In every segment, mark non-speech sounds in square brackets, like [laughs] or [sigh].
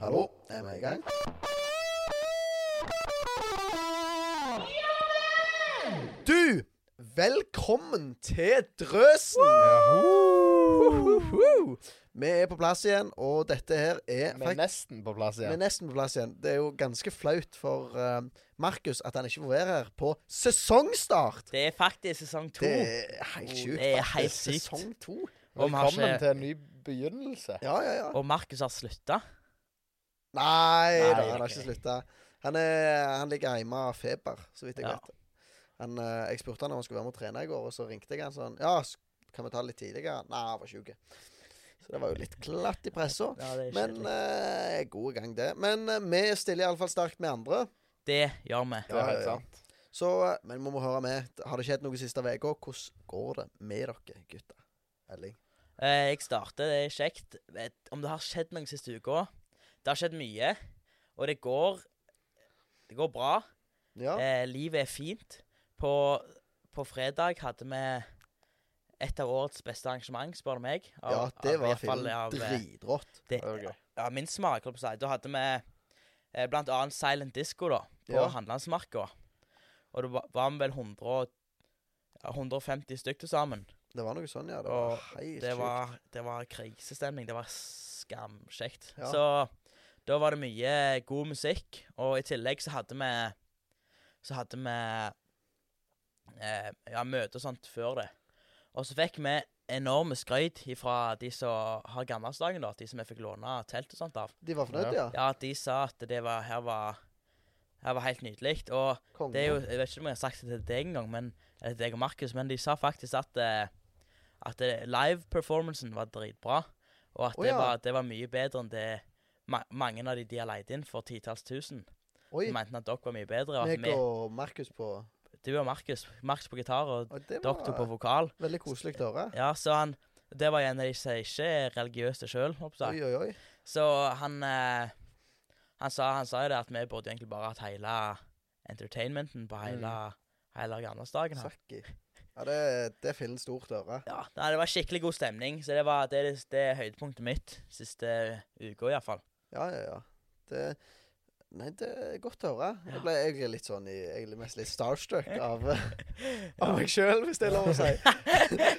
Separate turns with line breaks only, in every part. Hallo, er vi i gang? Du, velkommen til Drøsen! Woohoo! Vi er på plass igjen, og dette her er
Vi er
fakt-
nesten på plass
Vi er
igjen.
nesten på plass igjen. Det er jo ganske flaut for eh, Markus at han ikke får være her på sesongstart.
Det er faktisk sesong to.
Det er helt sjukt.
Det er
faktisk.
helt sykt.
Sesong to.
Og vi har
Velkommen
ikke-
til en ny begynnelse.
Ja, ja, ja.
Og Markus har slutta.
Nei,
Nei,
da, han har
ok.
ikke slutta. Han, er- han ligger hjemme av feber, så vidt jeg
Ja.
vet. Han, eh, jeg spurte han om han skulle være med og trene i går, og så ringte jeg han sånn Ja, s- kan vi ta det litt tidligere? Nei, han var sjuk. Så det var jo litt glatt i pressa.
Ja, det er
Men
kjedelig.
eh, god gang, det. Men eh, vi stiller iallfall sterkt med andre.
Det gjør vi.
Det er helt
ja.
sant.
Så, eh, men vi må høre med. Har det skjedd noe siste uka? Hvordan går det med dere gutter? Elling?
Eh, Jeg starter, det er kjekt. Vet om det har skjedd noe siste uka? Det har skjedd mye, og det går Det går bra.
Ja.
Eh, livet er fint. På, på fredag hadde vi et av årets beste arrangement, spør du meg. Av-
ja, det
av- i
var
hvert fall
filmen.
av, eh,
Dritrått.
det,
Det var gøy.
ja, min smak, holdt på å si. Da hadde vi eh, blant annet Silent Disco da, på
Ja.
Handelandsmarka. Og det var, var vi vel 100, og- ja, 150 stykk til sammen.
Det var noe sånn, ja. Det
Og
var helt
Det
sjukt.
var, det var krisestemning. Det var skamkjekt.
Ja.
Så da var det mye god musikk, og i tillegg så hadde vi Så hadde vi eh, ja, møte og sånt før det. Og så fikk vi enorme skryt fra de som har gammeldagsdagen, da. De som jeg fikk låne telt og sånt av.
De var fornøyd, ja?
Ja, de sa at det var Her var her var helt nydelig. Og
Konge.
det er jo, jeg vet ikke om jeg har sagt det til deg engang, men eller til deg og Markus, men de sa faktisk at eh, at eh, live-performancen var dritbra, og at
Å
det,
ja.
var, det var mye bedre enn det ma mange av de de har leid inn for titalls tusen.
Oi,
De mente at dere var mye bedre. Og at
meg
vi,
og Markus på
du og Markus. Markus på gitar og
og Det
dere to på
var
vokal.
veldig koselig å høre.
Ja, så han Det var en av de som ikke er religiøse sjøl, håper jeg.
Oi, oi, oi.
Så han eh, han, sa, han sa jo det at vi burde egentlig bare hatt hele entertainmenten på hele,
Mm.
hele gamlesdagen. her.
Sakki. Ja, det, det er fillen stort å høre.
Ja, nei, det var skikkelig god stemning, så det var det, er det, det er høydepunktet mitt siste uka iallfall.
Ja, ja, ja. Det Nei, det er godt å høre. Jeg ble jeg er litt sånn i Jeg er mest litt starstruck av, eh, av meg sjøl, hvis det er lov å si.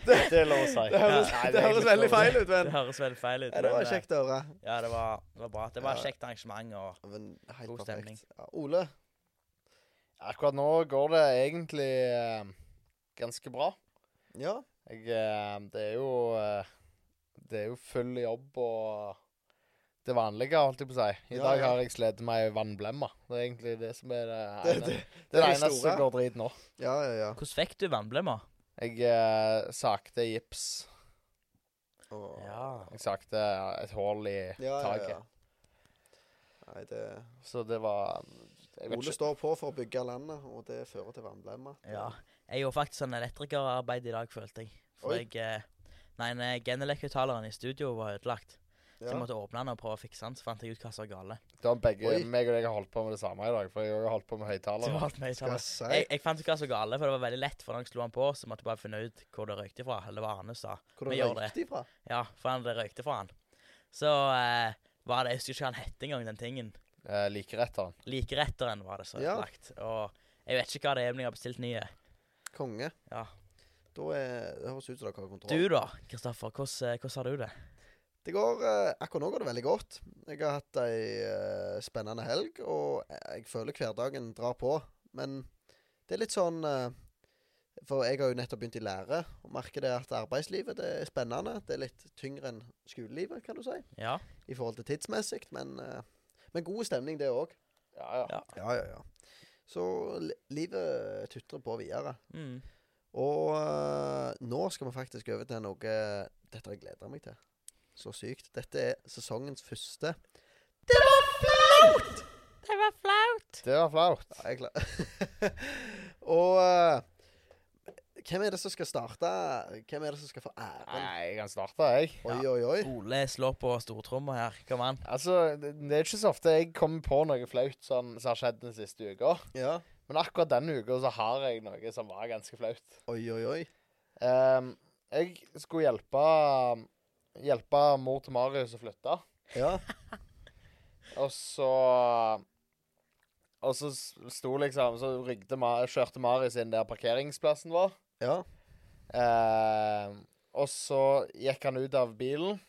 Det er lov å si.
[laughs] Det høres,
Nei,
det
er
høres
egentlig
veldig
lov å si.
feil ut, men
[laughs] Det høres veldig feil ut.
Nei, det
men,
var
eh,
kjekt å høre.
Ja, det var, det var bra. Det
Ja.
var et kjekt arrangement. og
Men helt
God stemning.
perfekt. Ja, Ole?
Akkurat nå går det egentlig eh, ganske bra.
Ja?
Jeg, eh, det er jo eh, Det er jo full jobb og det vanlige, holdt jeg på å si. I
Ja,
dag
ja.
har jeg slitt med ei vannblemme. Det er egentlig det som er det
Det,
ene.
det,
Det er det
det
eneste
store.
som går drit nå.
ja, ja, ja.
Hvordan fikk du vannblemmer?
Jeg eh, sakte gips.
Åh.
Jeg sakte et hull i
Ja, ja,
taket.
ja. Nei, det
Så det var Jeg vet
Ole
ikke.
står på for å bygge landet, og det fører til vannblemmer.
Ja. Jeg gjorde faktisk sånn elektrikerarbeid i dag, følte jeg. For
Oi.
jeg eh, Nei, nei, Genelec-høyttaleren i studio var ødelagt. Så
Ja.
jeg måtte åpne den og prøve å fikse den, så fant jeg ut hva som var gale.
Da har begge,
Oi.
meg og deg har holdt på med det samme i dag, for jeg har jo holdt på med
Du
høyttalere.
valgte meg
Skal
sammen.
jeg si
Jeg, jeg fant ut hva som var gale, for det var veldig lett. For når jeg slo den på, så måtte jeg bare finne ut hvor det røykte fra. Eller hva Arne sa.
hvor
Eh, vi
det
gjør
røykte ifra?
Ja, for han det røykte fra han. Så eh, var det Jeg husker ikke hva han het engang, den tingen.
Eh, Likeretteren.
Likeretteren var det så
Ja.
ødelagt. Og jeg vet ikke hva det er, men jeg har bestilt nye.
Konge.
Ja.
Da er, det høres ut som dere har kontroll.
Du da, Kristoffer. Hvordan, eh, hvordan har du det?
Det går, eh, akkurat nå går det veldig godt. Jeg har hatt ei eh, spennende helg, og jeg føler hverdagen drar på. Men det er litt sånn eh, For jeg har jo nettopp begynt i lære, og merker det at arbeidslivet det er spennende. Det er litt tyngre enn skolelivet, kan du si,
Ja.
i forhold til tidsmessig. Men, eh, men god stemning, det òg.
Ja, ja.
ja.
Ja, ja, ja. Så li livet tutrer på videre.
Mm.
Og øh, nå skal vi faktisk over til noe Dette har jeg gleda meg til. Så sykt. Dette er sesongens første Det var flaut!
Det var flaut.
Det var flaut.
Ja, jeg er klar. [laughs] Og øh, hvem er det som skal starte? Hvem er det som skal få
Nei,
æren?
jeg kan starte, jeg.
Oi, oi, oi.
Ole slår på stortromma her. Kom an.
Altså, det det er ikke så ofte jeg kommer på noe flaut sånn, som har skjedd den siste uka.
Ja.
Men akkurat denne uka så har jeg noe som var ganske flaut.
Oi, oi, oi.
Ehm, jeg skulle hjelpe Hjelpe mor til Marius å flytte.
Ja.
Og så Og så s- sto liksom Så rygde, Ma- kjørte Marius inn der parkeringsplassen var.
Ja.
Eh, og så gikk han ut av bilen.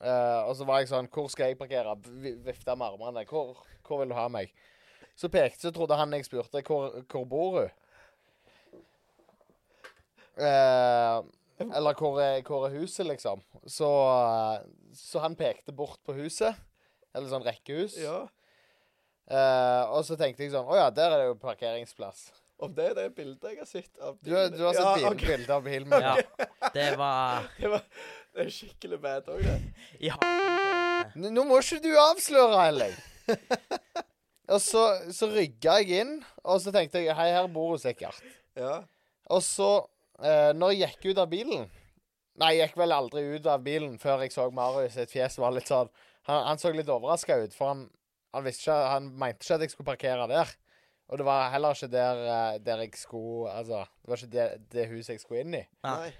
Eh, og så var jeg sånn Hvor skal jeg parkere? Vi- Vifta med armene. Hvor, hvor vil du ha meg? Så pekte så trodde han jeg spurte hvor, hvor bor du? Eh, eller hvor er, hvor er huset, liksom? Så, så han pekte bort på huset. Eller sånn rekkehus. Eh, og så tenkte jeg sånn Å ja, der er det jo parkeringsplass.
Om det er det bildet jeg har sett av
Du, har- du har sett bil, bilder av bilen min.
Ja, det var
Det, var, [laughs] det er skikkelig bad òg, det.
i hagen.
N- Nå må ikke du avsløre, Elling. og så, så rygga jeg inn, og så tenkte jeg hei, her bor hun sikkert.
Ja.
Og så, eh, når jeg gikk ut av bilen Nei, jeg gikk vel aldri ut av bilen før jeg så Marius sitt fjes var litt sånn Han, han så litt overraska ut, for han, han visste ikke Han mente ikke at jeg skulle parkere der. Og det var heller ikke der, eh, der jeg skulle Altså, det var ikke det, det huset jeg skulle inn i.
Nei.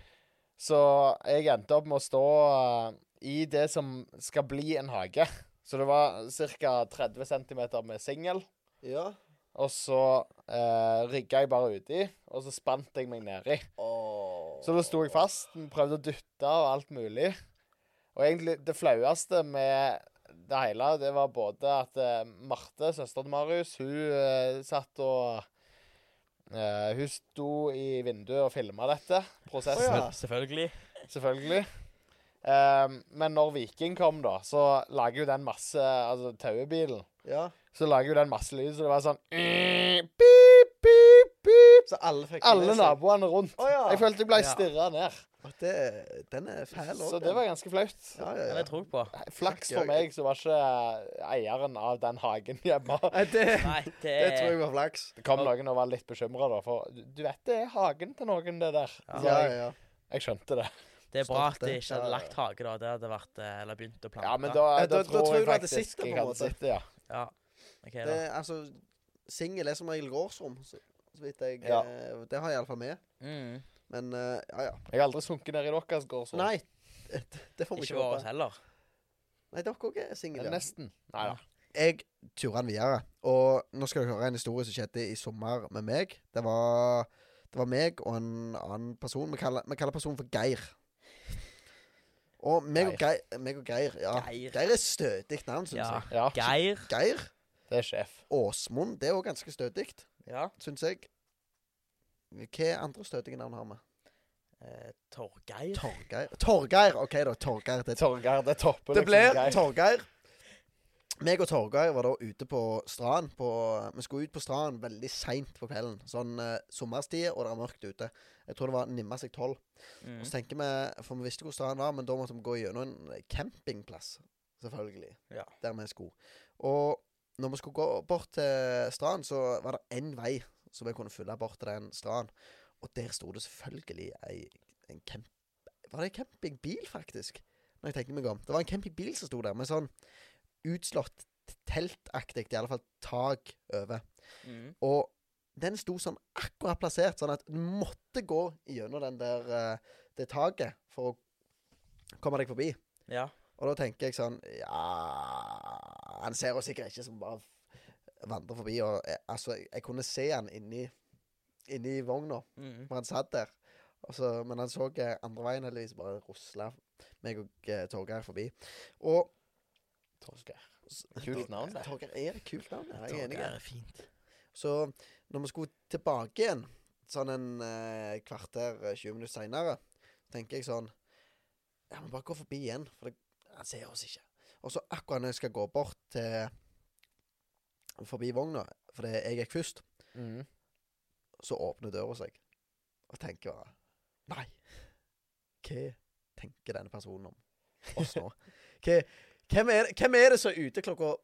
Så jeg endte opp med å stå eh, i det som skal bli en hage. Så det var ca. 30 cm med singel.
Ja.
Og så eh, rigga jeg bare uti, og så spant jeg meg nedi.
Åh.
Så da sto jeg fast, prøvde å dytte og alt mulig. Og egentlig det flaueste med det hele, det var både at eh, Marte, søsteren til Marius, hun eh, satt og eh, Hun sto i vinduet og filma dette, prosessen.
Å ja.
Selvfølgelig.
Selvfølgelig. Ehm, men når Viking kom, da, så lager jo den masse Altså tauebilen.
Ja.
Så lager jo den masse lyd, så det var sånn pip, pip, pip.
Så alle fikk Mm. det
Alle
med seg.
naboene rundt.
Å ja.
Jeg følte jeg ble
Ja.
stirra ned.
Og det, den er fæl òg.
Så det var ganske flaut.
ja, ja,
Ja,
ja.
det tror jeg på.
Flaks
Fuck,
for
jeg-
meg, så var ikke eh, eieren av den hagen hjemme.
Nei, det,
Nei, det
det tror jeg var flaks.
Det kom noen og var litt bekymra, da, for du du vet det er hagen til noen, det der.
Ja.
Så
Ja,
jeg,
ja.
jeg skjønte det.
Det er bra at
Stolt,
de
det.
ikke hadde
Ja, ja.
lagt hage, da. Det hadde vært eh, Eller begynt å plante.
Ja, men da,
Ja,
da,
da- da
tror jeg
tror du at det
faktisk
sitter på
jeg
en
hadde
måte.
sittet, ja.
Ja. Ok,
Det,
da.
er- altså, singel er som regel gårdsrom, så, så vidt jeg
Ja.
eh, Det har jeg iallfall med.
Mm.
Men eh, ja, ja.
Jeg har aldri sunket ned i deres gårdsrom.
Nei. Det, [laughs] det får vi
Ikke
ikke
våres
håpe.
heller.
Nei, dere òg er single. Ja.
Nesten. Nei da.
Jeg turer den videre. Og nå skal dere høre en historie som skjedde i sommer med meg. Det var, det var meg og en annen person. Vi kaller, vi kaller personen for Geir. Og meg og Geir, meg og Geir ja.
Geir.
Geir er stødig navn, syns
Ja.
jeg.
Ja,
Geir.
Geir
det er sjef.
Åsmund, det er òg ganske stødig,
Ja.
syns jeg. Hva andre stødige navn har vi?
Eh, Torgeir.
Torgeir. Torgeir, OK, da. Torgeir. Det,
Torgeir, det topper liksom
det blir
Geir.
Torgeir. Meg og Torgeir var da ute på stranden. På, vi skulle ut på stranden veldig seint på kvelden. Sånn eh, sommerstid, og det er mørkt ute. Jeg tror det var nimma seg tolv.
Mm.
Og så tenker vi, For vi visste hvor stranden var, men da måtte vi gå gjennom en campingplass. Selvfølgelig.
Ja.
Der vi skulle. Og når vi skulle gå bort til stranden, så var det én vei som vi kunne følge bort til den stranden. Og der sto det selvfølgelig ei, en camp... Var det en campingbil, faktisk? Når jeg tenker meg om. Det var en campingbil som sto der, med sånn utslått teltaktig, i alle fall tak over.
Mm.
Og den sto sånn akkurat plassert, sånn at du måtte gå gjennom den der, eh, det taket for å komme deg forbi.
Ja.
Og da tenker jeg sånn Ja Han ser oss sikkert ikke som bare vandrer forbi. Og, eh, altså, jeg, jeg kunne se han inni, inni vogna
Mm.
hvor han satt der. Og så- men han så eh, andre veien heldigvis bare rusle meg og eh, Torgeir forbi. Og
Torgeir. Kult navn, det.
Torgeir er et kult navn. ja, Jeg er enig. i det.
Torgeir er fint.
Så når vi skulle tilbake igjen, sånn en eh, kvarter, eh, 20 minutter seinere, tenker jeg sånn Ja, men bare gå forbi igjen, for det, han ser oss ikke. Og så akkurat når jeg skal gå bort til forbi vogna, fordi jeg gikk først,
Mm.
så åpner døra seg. Og tenker bare Nei. Hva tenker denne personen om oss nå? Hva, hvem, er, hvem er det som er ute klokka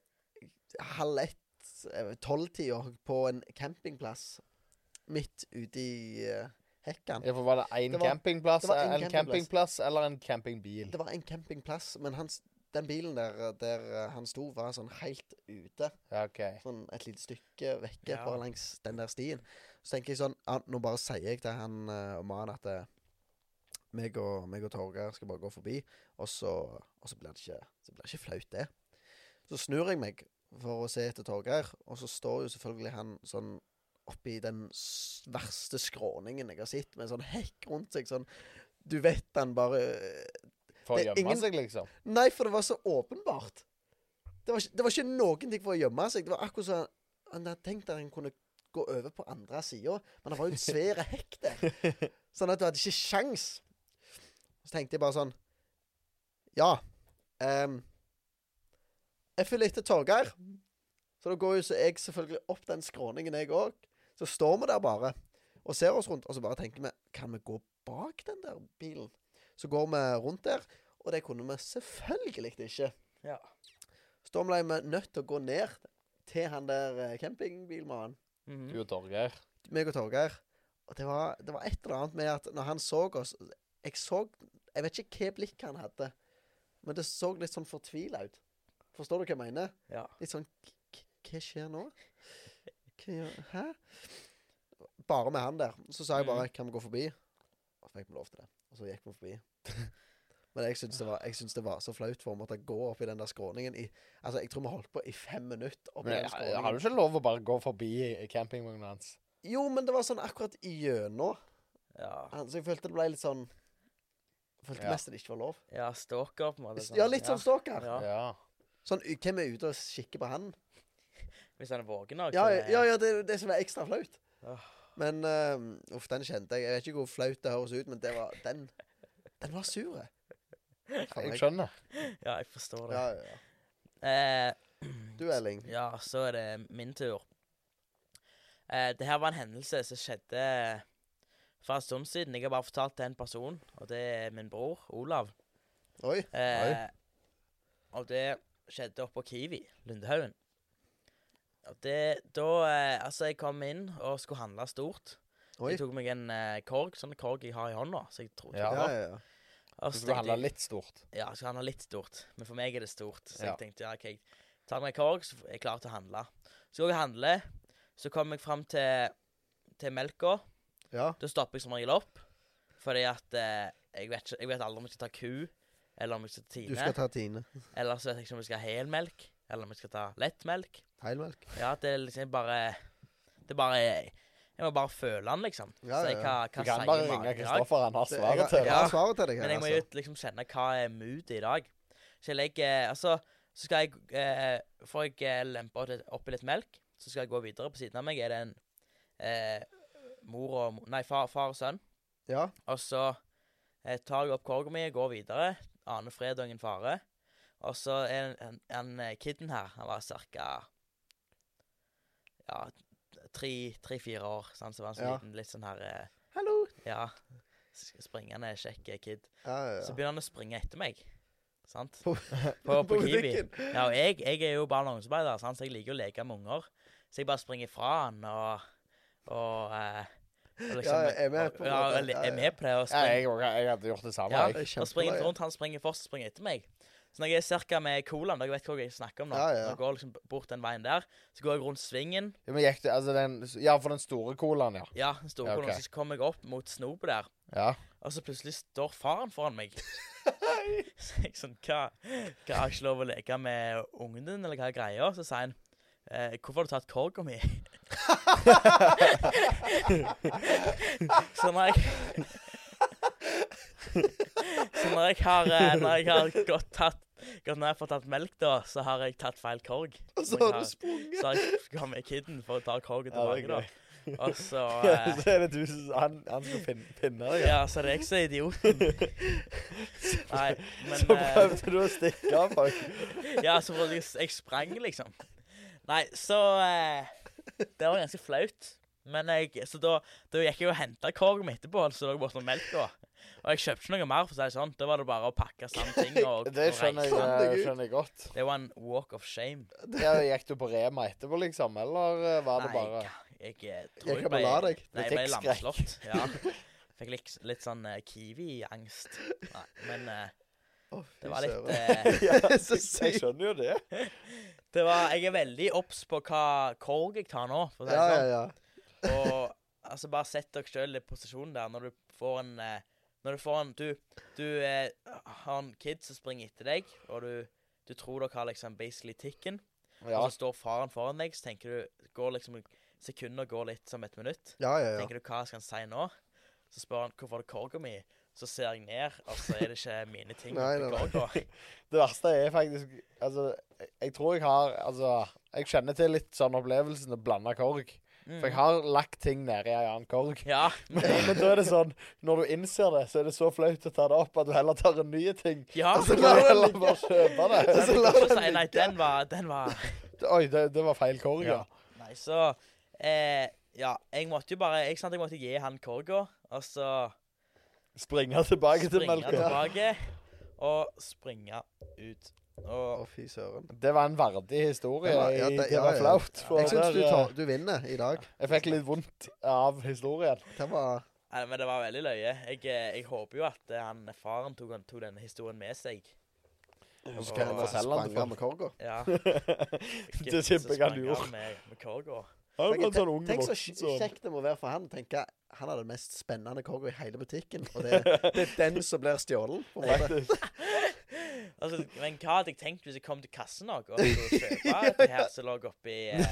halv ett, eh, tolvtida, på en campingplass midt ute i eh, hekken?
Ja, for var det én
Det var-
campingplass,
det var en campingplass.
en campingplass eller en campingbil?
Det var en campingplass, men hans, den bilen der, der eh, han sto, var sånn helt ute.
Ja, OK.
sånn et lite stykke vekke,
Ja.
bare langs den der stien. Så tenker jeg sånn ja, Nå bare sier jeg til han eh, og mannen at eh, meg og, meg og Torgeir skal bare gå forbi, og så, og så blir det ikke, så blir det ikke flaut, det. Så snur jeg meg, for å se etter Torgeir, og så står jo selvfølgelig han sånn oppi den s- verste skråningen jeg har sett, med en sånn hekk rundt seg, sånn Du vet han bare
For å
Det er
gjemme
ingen-
seg, liksom.
Nei, for det var så åpenbart. Det var, ikke- det var ikke noen ting for å gjemme seg. Det var akkurat som han, han hadde tenkt at han kunne gå over på andre sida, men det var jo en svær hekk der. Sånn at du hadde ikke sjans. Så tenkte jeg bare sånn Ja. ehm, jeg følger etter Torgeir. Så da går jo så jeg selvfølgelig opp den skråningen, jeg òg. Så står vi der bare og ser oss rundt, og så bare tenker vi Kan vi gå bak den der bilen? Så går vi rundt der. Og det kunne vi selvfølgelig ikke.
Ja.
Så da ble vi nødt til å gå ned til han der eh, campingbilmannen,
Mm,
Mm.
Du og Torgeir.
meg og Torgeir. Og det var, det var et eller annet med at når han så oss Jeg så Jeg vet ikke hva blikk han hadde, men det så litt sånn fortvila ut. Forstår du hva jeg mener?
Ja.
Litt sånn k- k- Hva skjer nå? Hva gjør Hæ? Bare med han der. Så sa jeg bare Kan vi gå forbi? Og så fikk vi lov til det. Og så gikk vi forbi. [laughs] Men jeg syns det, var- jeg syns det var så flaut for å måtte gå opp i den der skråningen i Altså, jeg tror vi holdt på i fem minutter. Opp i
Men
den
jeg- jeg har du
skråningen.
ikke lov å bare gå forbi campingvognen hans?
Jo, men det var sånn akkurat igjennom.
Ja.
Han- Så jeg følte det ble litt sånn Jeg følte
Ja.
mest det ikke var lov.
ja, stalker på en måte. sånn.
Ja, litt sånn stalker.
Ja.
Ja.
Sånn, u- hvem er ute og kikker på han?
Hvis han er våken nok.
Ja,
så det-
ja, ja det er jo det som er ekstra flaut.
Åh.
Men eh, uff, den kjente jeg. Jeg vet ikke hvor flaut det høres ut, men det var den Den var sur. jeg. Faen,
Jeg skjønner.
ja, jeg forstår det.
Ja, ja, ja.
Eh,
Du, Elling.
Ja, så er det min tur. Eh, det her var en hendelse som skjedde for en stund siden. Jeg har bare fortalt til en person, og det er min bror, Olav.
Oi.
Eh, og det skjedde oppe på Kiwi, Lundehaugen. Og det, da, eh, altså jeg kom inn og skulle handle stort.
Oi.
Jeg tok meg en eh, korg, sånn korg jeg har i hånda. Så jeg trodde
Ja.
Ja, ja, ja.
Du skal handle litt stort.
ja, så han har litt stort. Men for meg er det stort. Så
Ja.
jeg tenkte ja, ok, jeg tar meg en korg, så er jeg klar til å handle. Så går jeg og handler. Så kommer jeg fram til, til melka.
ja.
Da stopper jeg som regel opp. Fordi at eh, jeg, vet ikke, jeg vet aldri om jeg skal ta ku, eller om jeg skal ta
Du
Tine.
skal ta Tine.
Eller så vet jeg ikke om jeg skal ha helmelk, eller om jeg skal ta lettmelk.
Heilmelk.
Ja, at det er liksom bare Det er bare Jeg må bare føle den, liksom.
Ja,
Se
ja, ja.
hva, hva
Du kan bare
sier magen.
ringe
Ja,
Kristoffer, han har
Det- Jeg,
svaret
har-
til
jeg
deg.
har
Ja.
svaret til deg. her,
Men jeg må jo
altså.
liksom kjenne hva er moodet i dag. Så jeg legger Altså, så skal jeg eh, Får jeg eh, lempa det oppi litt melk, så skal jeg gå videre. På siden av meg er det en eh, mor og mo- Nei, far, far og sønn.
Ja.
Og så eh, tar jeg opp korga mi og går videre. Aner fredagen fare. Og så er en, en, en kiden her. Han var cirka Ja, tre- tre-fire år. Sant? Så var han så
Ja.
liten, litt sånn her eh,
Hallo.
Ja, s- springende, kjekk eh, kid.
Ja, ja,
Så
ja.
begynner han å springe etter meg. Sant?
[laughs] På-
på, på Kiwi.
butikken.
Ja, og jeg, jeg er jo barne- og ungdomsarbeider, sant, så jeg liker jo å leke med unger. Så jeg bare springer fra han og Og, eh, og
Ja, jeg er med på det.
ja, jeg li- er med på det. Og
Ja,
springer,
jeg, også, jeg hadde gjort det samme.
ja,
Det er
Jeg.
da springer jeg
kjempebra,
rundt, han springer først, springer etter meg. Så når jeg er ca. med colaen, da jeg vet hva jeg snakker om nå,
Ja, ja.
når jeg går liksom bort den veien der, så går jeg rundt svingen,
Ja, Men gikk det, altså den, ja, for den store colaen, ja.
ja, den store
Ja,
colaen,
ok.
så kommer jeg opp mot snopet der,
ja.
og så plutselig står faren foran
[laughs]
meg. Så jeg sånn, hva, hva har jeg ikke lov å leke med ungen din, eller hva er greia? Så sier han, eh, hvorfor har du tatt korga mi? [laughs] så når jeg... så når jeg har, eh, når jeg har gått, tatt, gått ned for å tatt melk da, så har jeg tatt feil korg.
Og så
Som jeg
har du sprunget.
Så har jeg kommet med kidden for å ta korgen
Ja, det
tilbake
er
da. Og
[laughs]
så...
[laughs]
eh,
Så er det du som Han, han skal finne, finne deg. Ja.
ja, så det er jeg som er idioten.
[laughs]
Nei, men...
Så
eh,
[laughs] prøvde du å stikke av folk.
[laughs] Ja, så prøvde jeg Jeg sprang, liksom. Nei, så eh, Det var ganske flaut. Men jeg, så da, da gikk jeg og henta korgen min etterpå, så lå borte melka. Og jeg kjøpte ikke noe mer, for å si det sånn. Da var det bare å pakke sammen
[laughs]
ting og,
Det
og
skjønner
Kom
jeg, eh,
deg ut.
skjønner jeg godt.
Det var en walk of shame.
[laughs] Ja, gikk du på Rema etterpå, liksom? Eller eh, var det
Nei,
bare
jeg, jeg tror
Jeg
jeg
kan
ble
bare la deg.
Nei, jeg ble
Butikkskrekk.
lamslått. Ja.
[laughs]
Fikk litt, litt sånn eh, Kiwi-angst. Nei, men eh,
Å, fy
det var litt
søren. [laughs]
eh, [laughs]
Så
Jeg
sykt.
skjønner jo det.
Det var Jeg er veldig obs på hva korg jeg tar nå, for å si det
Ja,
sånn.
ja, ja.
Og altså, bare sett dere sjøl i posisjonen der når du får en eh, Når du får en Du, du eh, har en kid som springer etter deg, og du, du tror dere har liksom basically tikken.
Ja.
og så står faren foran deg, så tenker du går liksom Sekunder går litt som et minutt.
Ja, ja, ja.
Tenker du, hva skal han si nå? Så spør han, hvorfor er det korga mi? Så ser jeg ned, og så er det ikke mine ting
Nei,
oppi
nei, nei.
korga.
Det verste er faktisk Altså, jeg- jeg tror jeg har Altså, jeg kjenner til litt sånn opplevelsen å blande korg. For jeg
Mm.
har lagt ting nedi ei annen [laughs] korg.
Ja.
Men, men da er det sånn, når du innser det, så er det så flaut å ta det opp at du heller tar en ny ting.
ja.
Så
Altså,
du
la den
heller
ligge.
bare Altså, kjøpe [laughs] det.
Men
så
du
la
kan ikke
den
si, nei,
ligge.
den var, den var
Oi, det, det var feil korg, ja.
Ja. Nei, så eh, Ja, jeg måtte jo bare ikke sant, Jeg måtte gi han korga, og så
Springe tilbake til
springe
melka.
tilbake. Og springe ut.
Å,
Og
fy søren.
Det var en verdig historie.
Det var- ja,
i-
det-
det,
ja,
var
ja.
flaut. For
Jeg syns
der,
du,
eh,
tar, du vinner i dag.
jeg fikk litt vondt av historien.
Det var
Nei, men det var veldig løye. Jeg, eh, jeg håper jo at eh, han faren tok, tok denne historien med seg.
Og så
skal
kan
jeg
jeg fortelle den til
spranga
folk.
med korga.
[laughs]
Ja.
Det tipper jeg han gjorde.
Med, med korga.
Han var
Tenk,
en sånn ung
tenk så
voksen
kj-
som
kjekt det må være for han. Tenk, jeg, han har den mest spennende korga i hele butikken, og det, det er den som blir stjålet. på en måte.
[laughs]
Altså, men hva hadde jeg tenkt hvis jeg kom til kassen og og skulle kjøpe
[laughs]
det her som lå oppi eh,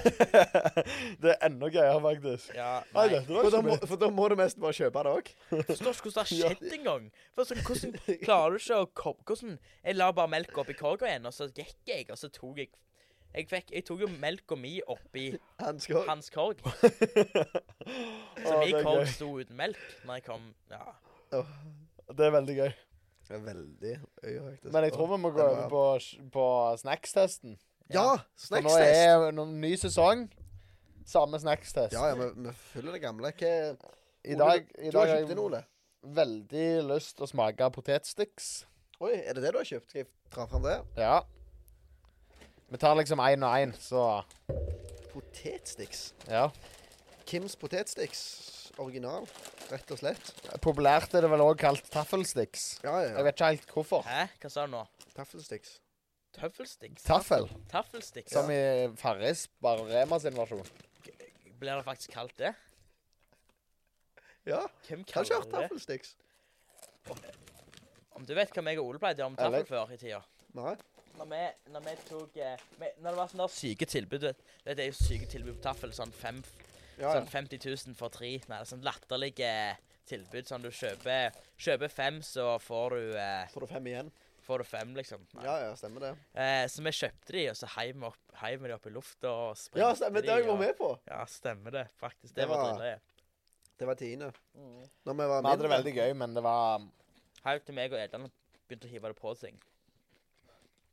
Det er enda gøyere, faktisk.
Ja,
Nei,
nei.
dette var
For da,
ikke
må,
mitt.
for da må du mest bare kjøpe det òg.
forstår ikke hvordan det har skjedd engang. For sånn,
[laughs]
hvordan klarer du ikke å ko- Hvordan Jeg la bare melka oppi korga igjen, og så gikk jeg, og så tok jeg Jeg, fikk, jeg tok jo melka mi oppi
Han skal
hans korg. Så
Å,
min
det er
korg
gøy.
sto uten melk når jeg kom Ja.
Det er veldig gøy.
Det er Veldig øye, faktisk.
Men jeg tror vi må gå
Den
over
var-
på, på snackstesten.
Ja!
For nå
Snackstest.
er det ny sesong. Samme snackstest.
Ja, ja, vi, vi følger det gamle. Hva
I dag, i
Du har
dag
kjøpt inn,
jeg
Ole?
veldig lyst til å smake potetsticks.
Oi, er det det du har kjøpt? Skal jeg dra fram det?
Ja. Vi tar liksom én og én, så
Potetsticks.
ja.
Kims potetsticks. Original, rett og slett.
Populært er det vel òg kalt taffelsticks.
Ja, ja.
Jeg vet ikke helt hvorfor.
Hæ? Hva sa du nå?
Taffelsticks.
Tøffelsticks?
Taffel,
Taffelsticks?
som i Farris, bare Rema sin versjon.
Blir det faktisk kalt det?
Ja,
Hvem
kanskje
kaller
har
det det?
taffelsticks.
Om du vet hva meg og Ole pleide å gjøre med
Eller-
taffel før i tida?
Nei.
Når vi, når vi tok eh, vi, Når det var sånne der syke tilbud vet, du vet, Det er jo syke tilbud på taffel. Sånn, fem,
Ja, ja.
sånn 50 000 for tre. Nei, det er sånn latterlige tilbud. Sånn du kjøper, kjøper fem, så får du, eh,
Får du fem igjen?
får du fem, liksom. Nei.
Ja, ja, stemmer det.
Eh, så vi kjøpte de, og så heiv vi opp, heiv vi de opp i lufta og sprengte
Ja, stemmer, det har jeg vært med på.
Ja, stemmer det. Faktisk. Det,
Det
var
var-
drittløye.
Det var tiende.
Mm.
Når vi var
Vi hadde det
mindre
veldig gøy, men det var
Heiv til meg og Edan begynte å hive det på ting.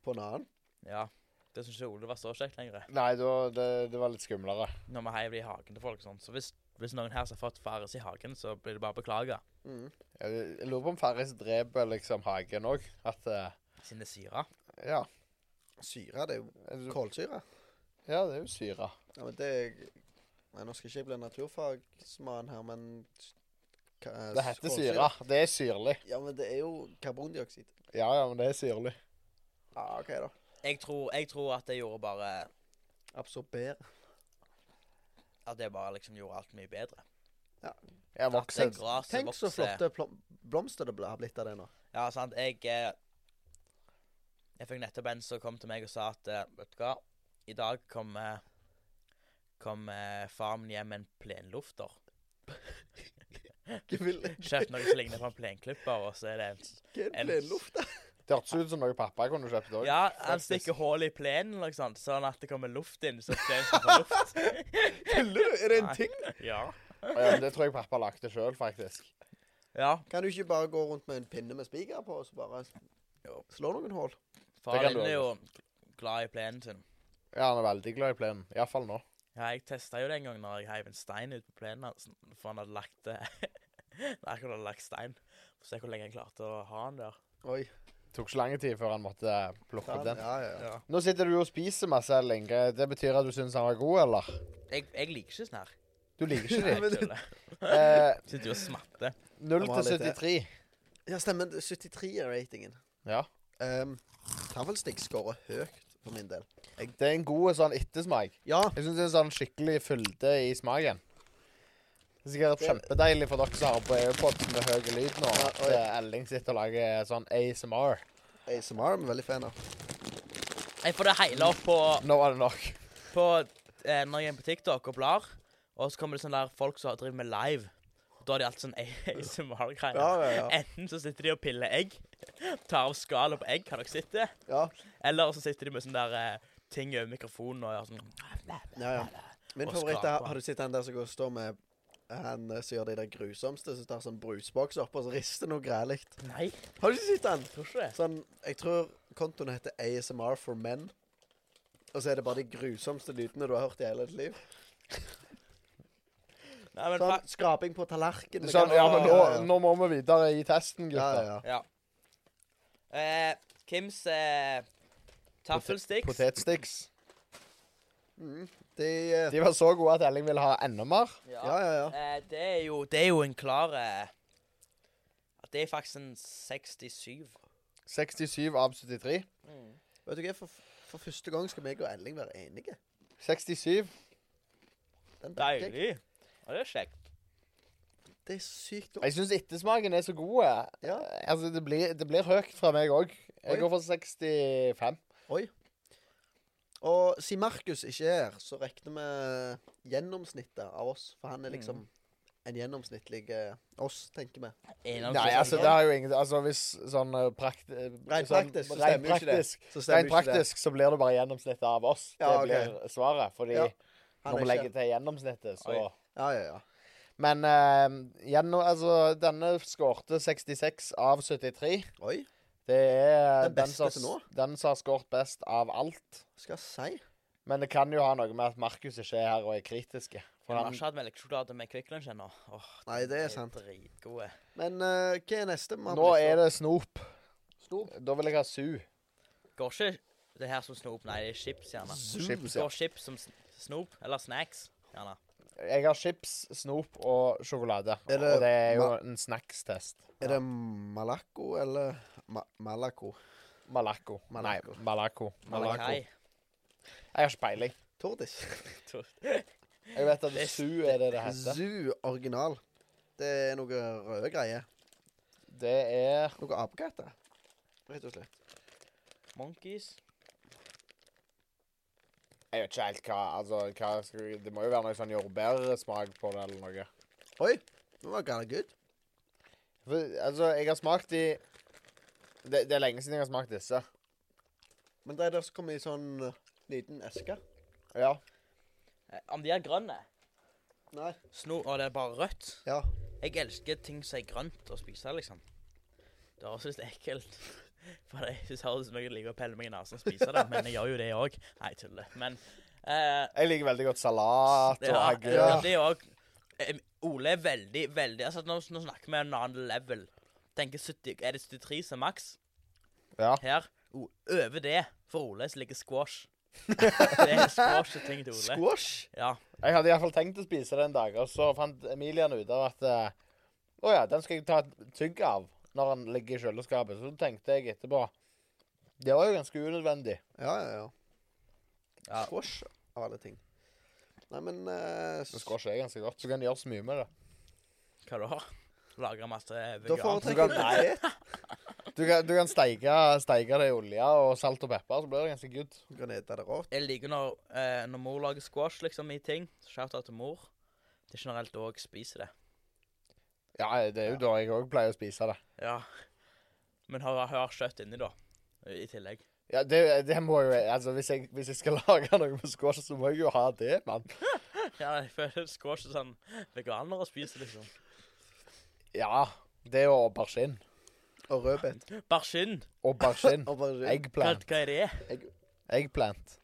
på en annen.
Ja. Det syns ikke Ole var så kjekt lenger.
Nei, det, var- det, det var litt skumlere.
Når vi heiv det i hagen til folk og sånn. Så hvis, hvis noen her som har fått fares i hagen, så blir det bare å beklage.
Mm.
Jeg jeg lurer på om Farris dreper liksom hagen òg. At eh,
Siden det er syre.
Ja.
Syre, det er jo
Ja,
kålsyre.
det er jo syre.
Ja, men det Nei, nå skal ikke jeg bli naturfagsmann her, men Ka- eh,
Det heter
kålsyre.
syre. Det er syrlig.
Ja, men det er jo karbondioksid.
Ja, ja, men det er syrlig.
Ja, ah, OK, da.
Jeg tror, jeg tror at det gjorde bare
Absorber.
At det bare liksom gjorde alt mye bedre.
Jeg
At det
vokser
gresset
Tenk så
vokser.
flotte plom- blomster det ble- har blitt av det nå.
Ja, sant. Jeg eh, Jeg fikk nettopp en som kom til meg og sa at eh, Vet du hva, i dag kom eh, Kom eh, faren min hjem med en plenlufter.
Hva vil-
Kjøpt noe som ligner på en plenklipper, og så er det en
hva er
En-
det luft der?
Det hørtes ut som noe pappa kunne kjøpt òg.
Ja, han stikker hull i plenen, eller noe sånt, sånn at det kommer luft inn, så plenen skal få
[laughs]
luft.
Tuller du? Er det en
Nei.
ting?
ja.
Ja, men det tror jeg pappa lagde sjøl, faktisk.
ja.
Kan du ikke bare gå rundt med en pinne med spiker på, og så bare s-
Jo.
slå noen hull?
Far
kan
din
du
er jo glad i plenen sin.
Ja, han er veldig glad i plenen. Iallfall nå.
Ja, jeg testa jo det en gang når jeg heiv en stein ut på plenen hans, for han hadde lagt det [laughs] Nei, han hadde lagt stein. Få se hvor lenge han klarte å ha den der.
Oi.
Tok ikke lang tid før han måtte eh, plukke
Ja,
opp den.
ja, ja.
Ja.
Nå sitter du og spiser masse, Inge. Det betyr at du syns han var god, eller?
Jeg, jeg liker ikke
[laughs]
sånn her.
Du liker ikke det.
men-
Tuller.
Eh,
Sitter jo og smatter.
0
Jeg må ha
til
litt til.
73.
ja stemmer. 73 er ratingen.
Ja.
Um, Tavelstikk skårer høyt for min del.
Det er en god sånn ettersmak.
Ja,
Jeg syns det er sånn skikkelig fylde i smaken. Det er sikkert
Det-
kjempedeilig for dere som har på AirPods med høy lyd nå, at
Ja, oi.
eh, Elling sitter og lager sånn ASMR.
ASMR er vi veldig fan av.
Jeg får det hele opp på
Nå var det nok.
på, eh, når jeg er på TikTok og blar, og så kommer det sånne der folk som driver med live. Da er de alltid sånn [laughs] ASMR-greier.
Ja, ja, ja.
Enten så sitter de og piller egg, [laughs] tar av skallet på egg, har dere sett det?
ja.
Eller så sitter de med sånne der eh, ting over mikrofonen og gjør sånn [laughs]
ja, ja. Min
Og
favoritt er
skrape.
Har du sett han der som går og står med han eh, som gjør de der grusomste, som tar sånn brusboks opp og så rister noe grælig?
Nei,
Har du ikke sett han?
jeg tror ikke det.
Sånn, jeg tror kontoen heter ASMR for men. Og så er det bare de grusomste lydene du har hørt i hele ditt liv.
Nei, men
Sånn
fak-
skraping på tallerken. det
Sånn,
kan
ja,
være-
men nå, nå må vi videre i testen,
ja,
gutter.
ja, ja.
Ja. Eh, Kims eh, taffelsticks.
Potetsticks.
Mm, de, eh,
De var så gode at Elling ville ha enda mer.
ja, ja, ja.
Eh, det, er jo, det er jo en klar eh, at Det er faktisk en 67.
67 av 73.
Mm.
Vet du hva, for, for første gang skal meg og Elling være enige.
67.
Den backer jeg.
Deilig. Ja, det er kjekt.
Det er sykt godt.
Jeg syns ettersmaken er så god.
Ja.
Altså, det blir, det blir høyt fra meg òg.
Oi.
Jeg går for 65.
Og siden Markus ikke er her, så regner vi gjennomsnittet av oss. For
Mm.
han er liksom en gjennomsnittlig eh, oss, tenker vi.
Innom-
Nei, altså, det har jo ingen Altså, hvis sånn eh, prakt... eh,
Rent
sånn,
praktisk, så
rent
stemmer jo ikke det.
praktisk,
Så
Rent
stemmer jo ikke det.
praktisk så blir det bare gjennomsnittet av oss.
Ja,
det blir svaret. Fordi
Ja, Han
når vi
er ikke-
legger til gjennomsnittet, så
Oi.
Ja, ja, ja.
Men eh, gjennom, altså, denne skårte 66 av 73.
Oi,
Det er
Den
den
beste
som
til nå?
den som har skåret best av alt.
skal jeg si?
Men det kan jo ha noe med at Markus ikke er her og er kritiske.
Jeg
For
har
han,
altså,
ikke hatt melkesjokolade med Kvikk Lunsj ennå. Åh,
Nei, det er sant.
Dritgode.
Men eh, hva er neste?
nå er det snop. Da vil jeg ha su.
Går ikke det her som snop? Nei, det er chips, gjerne.
Chips, ja.
Går chips som sn- snop? Eller snacks? Gjerne.
Jeg har chips, snop og sjokolade.
Er det-
og det er jo en snackstest.
Er det Malaco eller Ma Malaco?
Malaco. Nei,
Malaco.
Malaco. Malaco.
Malakai.
Jeg har ikke peiling.
Tordis.
Jeg vet at
Det-
su er det det heter.
Zoo original. Det er noe røde greier.
Det er
Noe apekatter. Rett og slett.
Monkeys.
Jeg vet ikke helt hva altså, hva skal vi, Det må jo være noe sånn jordbærsmak på det, eller noe.
Oi, nå var Galla good.
For, altså, jeg har smakt de det, det er lenge siden jeg har smakt disse.
Men det er der som kommer i sånn eh, liten eske.
Ja.
Eh, Om de er grønne?
Nei.
Snop, og det er bare rødt?
Ja.
Jeg elsker ting som er grønt å spise, liksom. Det høres litt ekkelt [laughs] For jeg synes det høres ut som jeg liker å pelle meg i nesen og spise det, men jeg gjør jo det òg. Nei, jeg tuller. Men eh,
Jeg liker veldig godt salat og
ja,
agurk.
ja. det òg Ole er veldig, veldig altså, nå, nå snakker vi en annen level. Tenker 70, Er det 73 som er maks
Ja.
her? O- Over det for Ole så
[laughs]
ligger squash. Det er squash-ting til Ole.
Squash.
Ja.
Jeg hadde iallfall tenkt å spise det en dag, og så fant Emilian ut av at eh, Å ja, den skal jeg ta et tygg av når den ligger i kjøleskapet. Så tenkte jeg etterpå Det var jo ganske unødvendig.
Ja, ja, ja.
Ja.
Squash av alle ting. Nei, men eh, s-
Det skal ikke jeg ganske godt. Så kan de gjøre så mye med det.
Hva da? Lager masse
Da
vegansk
foretrekker
Du
jeg
kan-
potet.
Du kan, du kan steike, steike det i olje og salt og pepper, så blir det ganske good.
Granita er det rått.
Jeg liker når, eh, når mor lager squash liksom, i ting. Shout-out til mor. Det er generelt da jeg spiser det.
Ja, det er jo da jeg òg pleier å spise det.
Ja. Men har, har kjøtt inni, da. I tillegg. [laughs]
Ja, det, det må jo Altså, hvis jeg, hvis jeg skal [laughs] lage noe med squash, så må jeg jo ha det, mann.
Ja, jeg føler squash er sånn veganere spiser, liksom.
Ja. Det og aubergine.
Og rødbet.
[laughs] Barsin.
[laughs] Aubergine.
Og bare
Hva,
Eggplant.
hva er det?
Eggplant.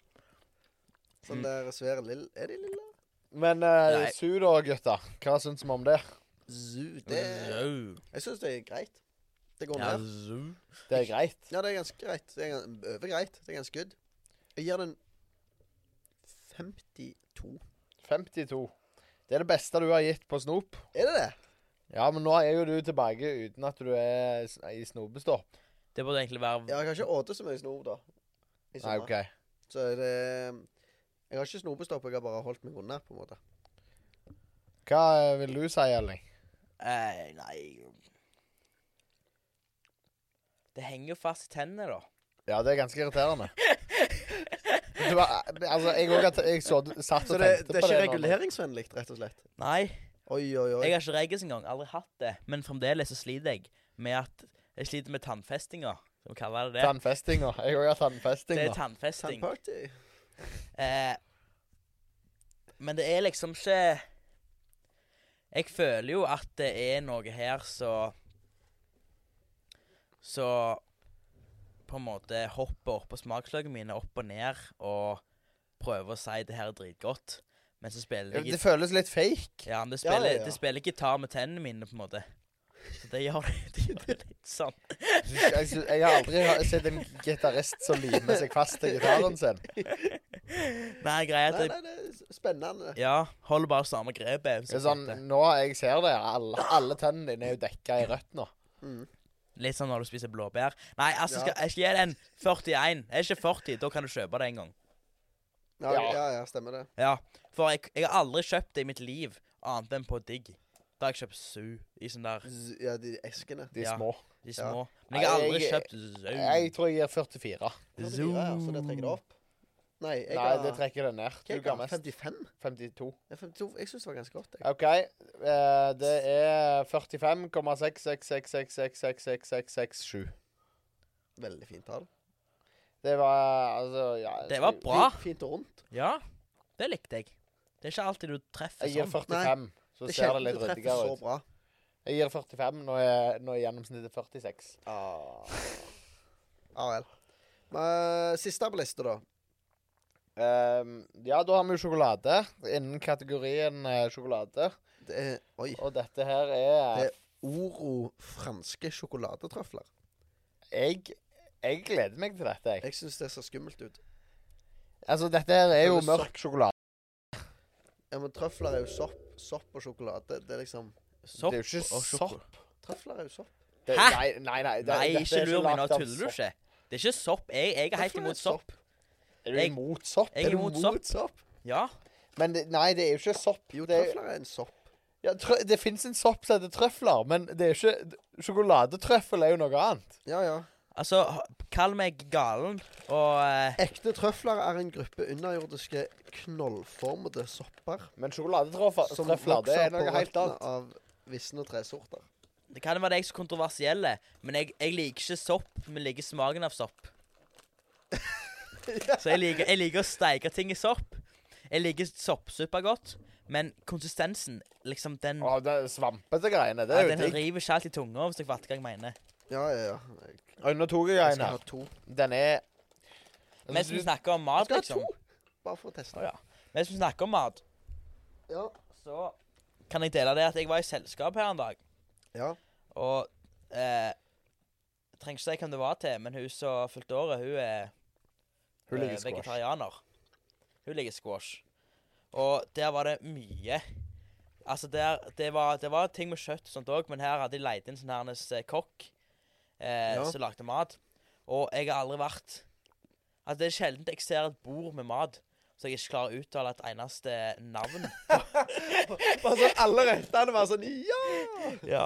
sånn der svære lille Er de lille?
Men uh,
Nei.
su da, gutter. Hva syns vi om det?
Zoo. Det
Rau.
Jeg syns det er greit. Det går
Mm. Ja,
ned.
zoo.
Det er greit.
Ja, det er ganske greit. Det er gan- over greit. Det er ganske good. Jeg gir den 52.
52. Det er det beste du har gitt på snop.
Er det det?
Ja, men nå er jo du tilbake uten at du er s- i snopestopp.
Det burde egentlig være
Ja, jeg har ikke åte så mye snop, da. I
Nei,
sommer.
OK.
Så er det Jeg har ikke snopestopp, jeg har bare holdt meg unna, på en måte.
Hva eh, vil du si, Elling?
eh, Nei Det henger jo fast i tennene, da.
Ja, det er ganske irriterende. Det var, altså, jeg òg satt
Så
og
det,
tenkte
det er ikke
på det. nå.
reguleringsvennlig, rett og slett?
Nei,
Oi, oi, oi.
jeg har ikke reggis engang. Aldri hatt det. Men fremdeles så sliter jeg med at Jeg sliter med tannfestinga, skal vi kalle det det.
Tannfestinga. Jeg òg har
Det er
tannfestinga.
tannfesting.
Tannparty.
Eh, men det er liksom ikke Jeg føler jo at det er noe her så Så på en måte hopper oppå smaksløkene mine opp og ned og prøver å si det her er dritgodt, men så spiller jeg
Det føles litt fake.
ja, men det
Ja, ja,
spiller,
ja.
Det spiller gitar med tennene mine, på en måte. Så det gjør det, [laughs] det, gjør det litt sånn.
Jeg, sy- jeg har aldri ha- sett en gitarist som limer seg fast til gitaren sin.
Nei, greia
Nei,
er at jeg,
nei, det er spennende.
ja, holder bare samme grepet.
Det er sånn, nå jeg ser det, alle, alle tennene dine er jo dekka i rødt nå.
Mm.
Litt sånn når du spiser blåbær. Nei, altså,
Ja.
skal, jeg skal gi den 41. Er ikke 40, da kan du kjøpe det en gang.
Ja,
Ja.
ja, ja, stemmer det.
Ja, For jeg, jeg har aldri kjøpt det i mitt liv, annet enn på digg. Da har jeg kjøpt sau i sånn der
Z- Ja, de eskene.
De
Ja.
små.
de
Ja.
små. Men jeg har
Nei,
aldri
jeg-
kjøpt
Jeg
sau.
tror jeg gir
Nå
44.
er det dyre, ja, Så det trekker det opp. Nei, jeg
Nei,
har
det trekker det ned.
Hva er
Du
jeg
ga
gammel?
mest
55?
52.
Ja, 52. Jeg syns det var ganske godt. Jeg.
OK. eh, Det er 45,666666667.
Veldig fint tall.
Det var altså ja,
Det var bra.
Fint, fint og rundt.
Ja, det likte jeg. Det er ikke alltid du treffer
Jeg gir
sånn.
45, så
Det er
ser det
sjelden
litt
du treffer
ryddigere
så
ut.
bra.
Jeg gir 45, nå er, nå er gjennomsnittet 46.
Ah. Ja Ah, vel. Men, siste på lista, da.
Ehm, ja, da har vi jo sjokolade innen kategorien eh, sjokolade.
Det er Oi.
Og dette her er
Det- Oro franske sjokoladetrøfler.
jeg, jeg gleder meg til dette, jeg.
Jeg syns det ser skummelt ut.
Altså, dette her er jo
Føles
mørk sjokolade.
Ja, men Trøfler er jo sopp. Sopp og sjokolade. Det er liksom
Sopp
det er jo ikke
og sjoko-
Trøfler er jo sopp.
Det,
Hæ?
Nei, nei, nei. Det,
Nei,
dette
ikke
er
lur meg nå.
lagt av
Tuller du
sopp.
ikke? Det er ikke sopp. Jeg, jeg er helt
Trøfler
imot sopp.
Er du
Jeg-
imot sopp?
Jeg er
du
imot sopp.
sopp?
Ja.
Men det, nei, det er jo ikke sopp.
Jo,
det,
trøfler er en sopp.
ja, trø, det fins en sopp som heter trøfler, men det er jo ikke Sjokoladetrøffel er jo noe annet.
Ja, ja.
Altså, kall meg galen og eh,
Ekte trøfler er en gruppe underjordiske knollformede sopper.
Men sjokoladetrøfler
Som
trøfler, det
vokser
er
på
noe helt
røttene
annet.
av visne tresorter.
Det kan være det jeg som er kontroversielle, men jeg, jeg liker ikke sopp. Men liker smaken av
[laughs]
sopp. Så jeg liker, jeg liker å steike ting i sopp. Jeg liker soppsuppe godt, men konsistensen, liksom den
Å, det er svampete greiene. Det
ja,
er jo
Den
digg.
river ikke alt i tunga, hvis dere fatter hva jeg mener.
Ja, ja, ja. Jeg,
Oi, nå tok jeg
jeg
en
skal
her.
ha to.
Den er
Mens vi
altså,
snakker om mat,
skal ha
liksom.
to. Bare for å
Å,
teste.
ja. Mens vi snakker om mat,
Ja.
så kan jeg dele det at jeg var i selskap her en dag.
ja.
Og eh, jeg trenger ikke si hvem det var til, men hun som fylte året, hun er
Hun liker
eh,
squash.
vegetarianer. Hun liker squash. Og der var det mye. Altså, der, det, var, det var ting med kjøtt og sånt òg, men her hadde de leid inn sånn hernes eh, kokk eh,
Ja.
som lagde mat. Og jeg har aldri vært Altså, det er sjelden jeg ser et bord med mat, så jeg ikke klarer å uttale et eneste navn.
Bare sånn alle rettene var sånn Ja!
Ja.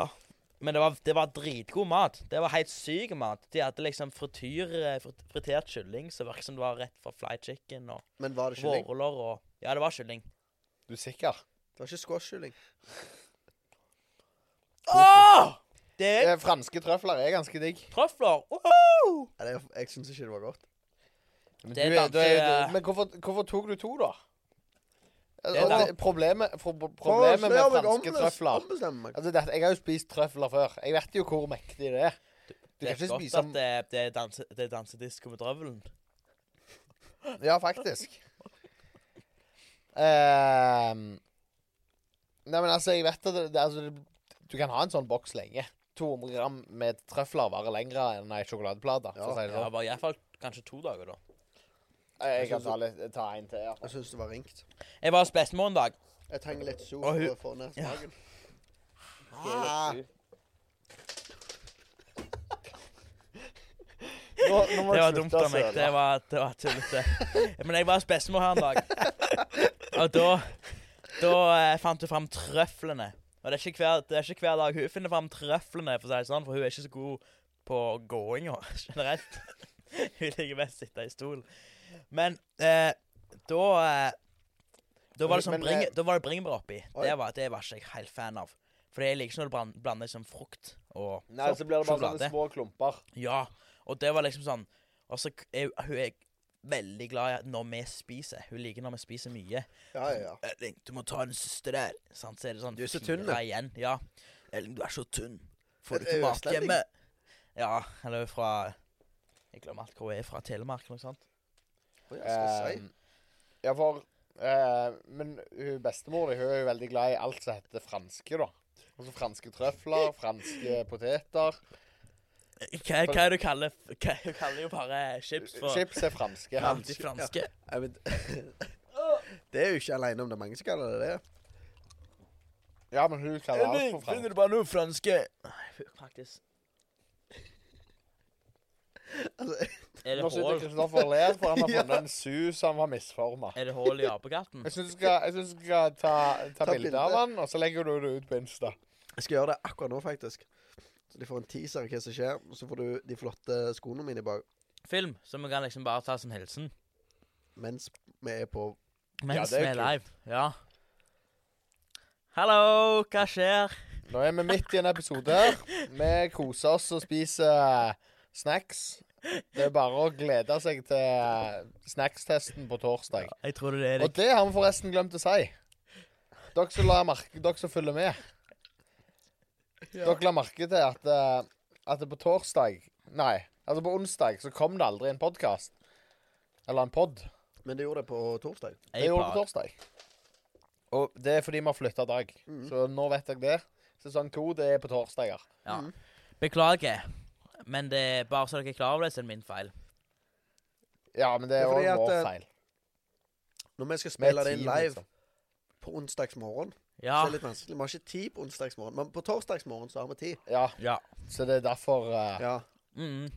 Men det var, det var dritgod mat. Det var helt syk mat. De hadde liksom frityr, eh, frit- fritert kylling som virket som det var rett fra fly chicken og
Men var det kylling?
vårruller og Ja, det var kylling.
Du er sikker?
Det var ikke squash-kylling.
Åh! Det er
Eh, franske trøfler er ganske digg.
trøfler! Woho!
Ja, det- Jeg syns ikke det var godt.
Men,
Det er
du er- du er-
danske-
du- men hvorfor, hvorfor tok du to, da?
er
Altså,
dan-
problemet pro- problemet med
Å, slå meg
franske
ombes-
trøfler
ombestemme meg.
altså, dette, Jeg har jo spist trøfler før. Jeg vet jo hvor mektig det er. Du
Det
kan
er
ikke
godt
spise
at det, det er danse, det er dansedisko med drøvelen.
Ja, faktisk. Ehm, nei, men altså, jeg vet at det, det, altså, det, du kan ha en sånn boks lenge. 200 gram med trøfler varer lenger enn ei sjokoladeplate. for å si det sånn.
Ja,
Eh,
det var iallfall kanskje to dager, da.
Jeg kan ta, litt, ta en til. Ja.
Jeg syns det var ringt.
Jeg var hos bestemor en dag.
Jeg trenger litt sol
Og hun-
for å få ned
Ja.
smaken.
[laughs] Nå, nå må
Det
jeg
var
slutte
dumt av
å
meg.
søle.
Det var, det var tullete. Men jeg var hos bestemor her en dag, og da, da eh, fant hun fram trøflene. Og det er, ikke hver, det er ikke hver dag hun finner fram trøflene, for å si det sånn, for hun er [laughs] ikke så god på gåinga generelt. Hun liker best å sitte i stol. Men eh, da eh, Da var det sånn
Men, eh,
bringe, Da var det bringebær oppi.
Oi.
Det var, det var ikke jeg helt fan av. For jeg liker ikke når du blan- blander liksom frukt og
Nei, så blir det bare
sjokolade.
sånne små klumper.
Ja, og det var liksom sånn Og så k- er hun er veldig glad i at når vi spiser. Hun liker når vi spiser mye.
Ja, ja, ja.
Erling, du må ta den siste der. Sant? Så er det sånn
Du er så
fire
tynn, du.
igjen. Ja. Erling, du er så tynn. Får
Er- er
du ikke
hun
mat
østlending?
hjemme? Ja, eller fra Jeg glemmer alt hvor hun er fra. Telemark eller noe sånt.
Å, ja, skal jeg si.
Eh, ja, for eh, Men hun bestemor di hun er jo veldig glad i alt som heter franske, da. Altså franske trøfler, franske poteter.
Hva, hva er det du kaller hva, Hun kaller jo bare chips for
Chips er franske.
Ja, de franske.
Nei, men, [laughs] det er jo ikke aleine om det er mange som kaller det det.
Ja, men hun kaller alt for franske.
du bare noe franske? Nei, faktisk.
Altså,
Er
Nå
det
sitter
hål,
Kristoffer og ler, for han har funnet
Ja.
en sus han var misforma.
er det hål i apekatten?
Jeg syns du skal, jeg synes du skal ta, ta,
Ta
bilde av
bilde.
han, og så legger du det ut på Insta.
jeg skal gjøre det akkurat nå, faktisk. Så de får en teaser av hva som skjer. og Så får du de flotte skoene mine bak
Film, så vi kan liksom bare ta som hilsen.
mens vi er på
Mens
det er
vi er
kult.
live. Ja. Hallo, hva skjer?
Nå er vi midt i en episode her. Vi koser oss og spiser snacks. Det er bare å glede seg til snackstesten på torsdag.
Jeg trodde det er
Og det har vi forresten glemt å si. Dere som, la merke, dere som følger med. Dere la merke til at, eh, at det på torsdag Nei, altså på onsdag så kom det aldri en podkast. Eller en pod.
Men du gjorde det på torsdag.
Det gjorde det på torsdag. Og det er fordi vi har flytta dag.
Mm.
Så nå vet jeg det. Sesong to det er på torsdager.
Ja. Beklager, men det er bare så dere er klar over det, så er det min feil.
Ja, men
Det
det er
er
òg
fordi at,
vår
eh,
feil.
Når vi skal
Vi er
spille det
team,
inn live
liksom.
på onsdagsmorgen, så
Ja.
er det litt vanskelig. Vi har ikke tid på onsdagsmorgen, men på torsdagsmorgen så har vi tid.
Ja,
ja.
så det er derfor eh,
Ja.
Mm,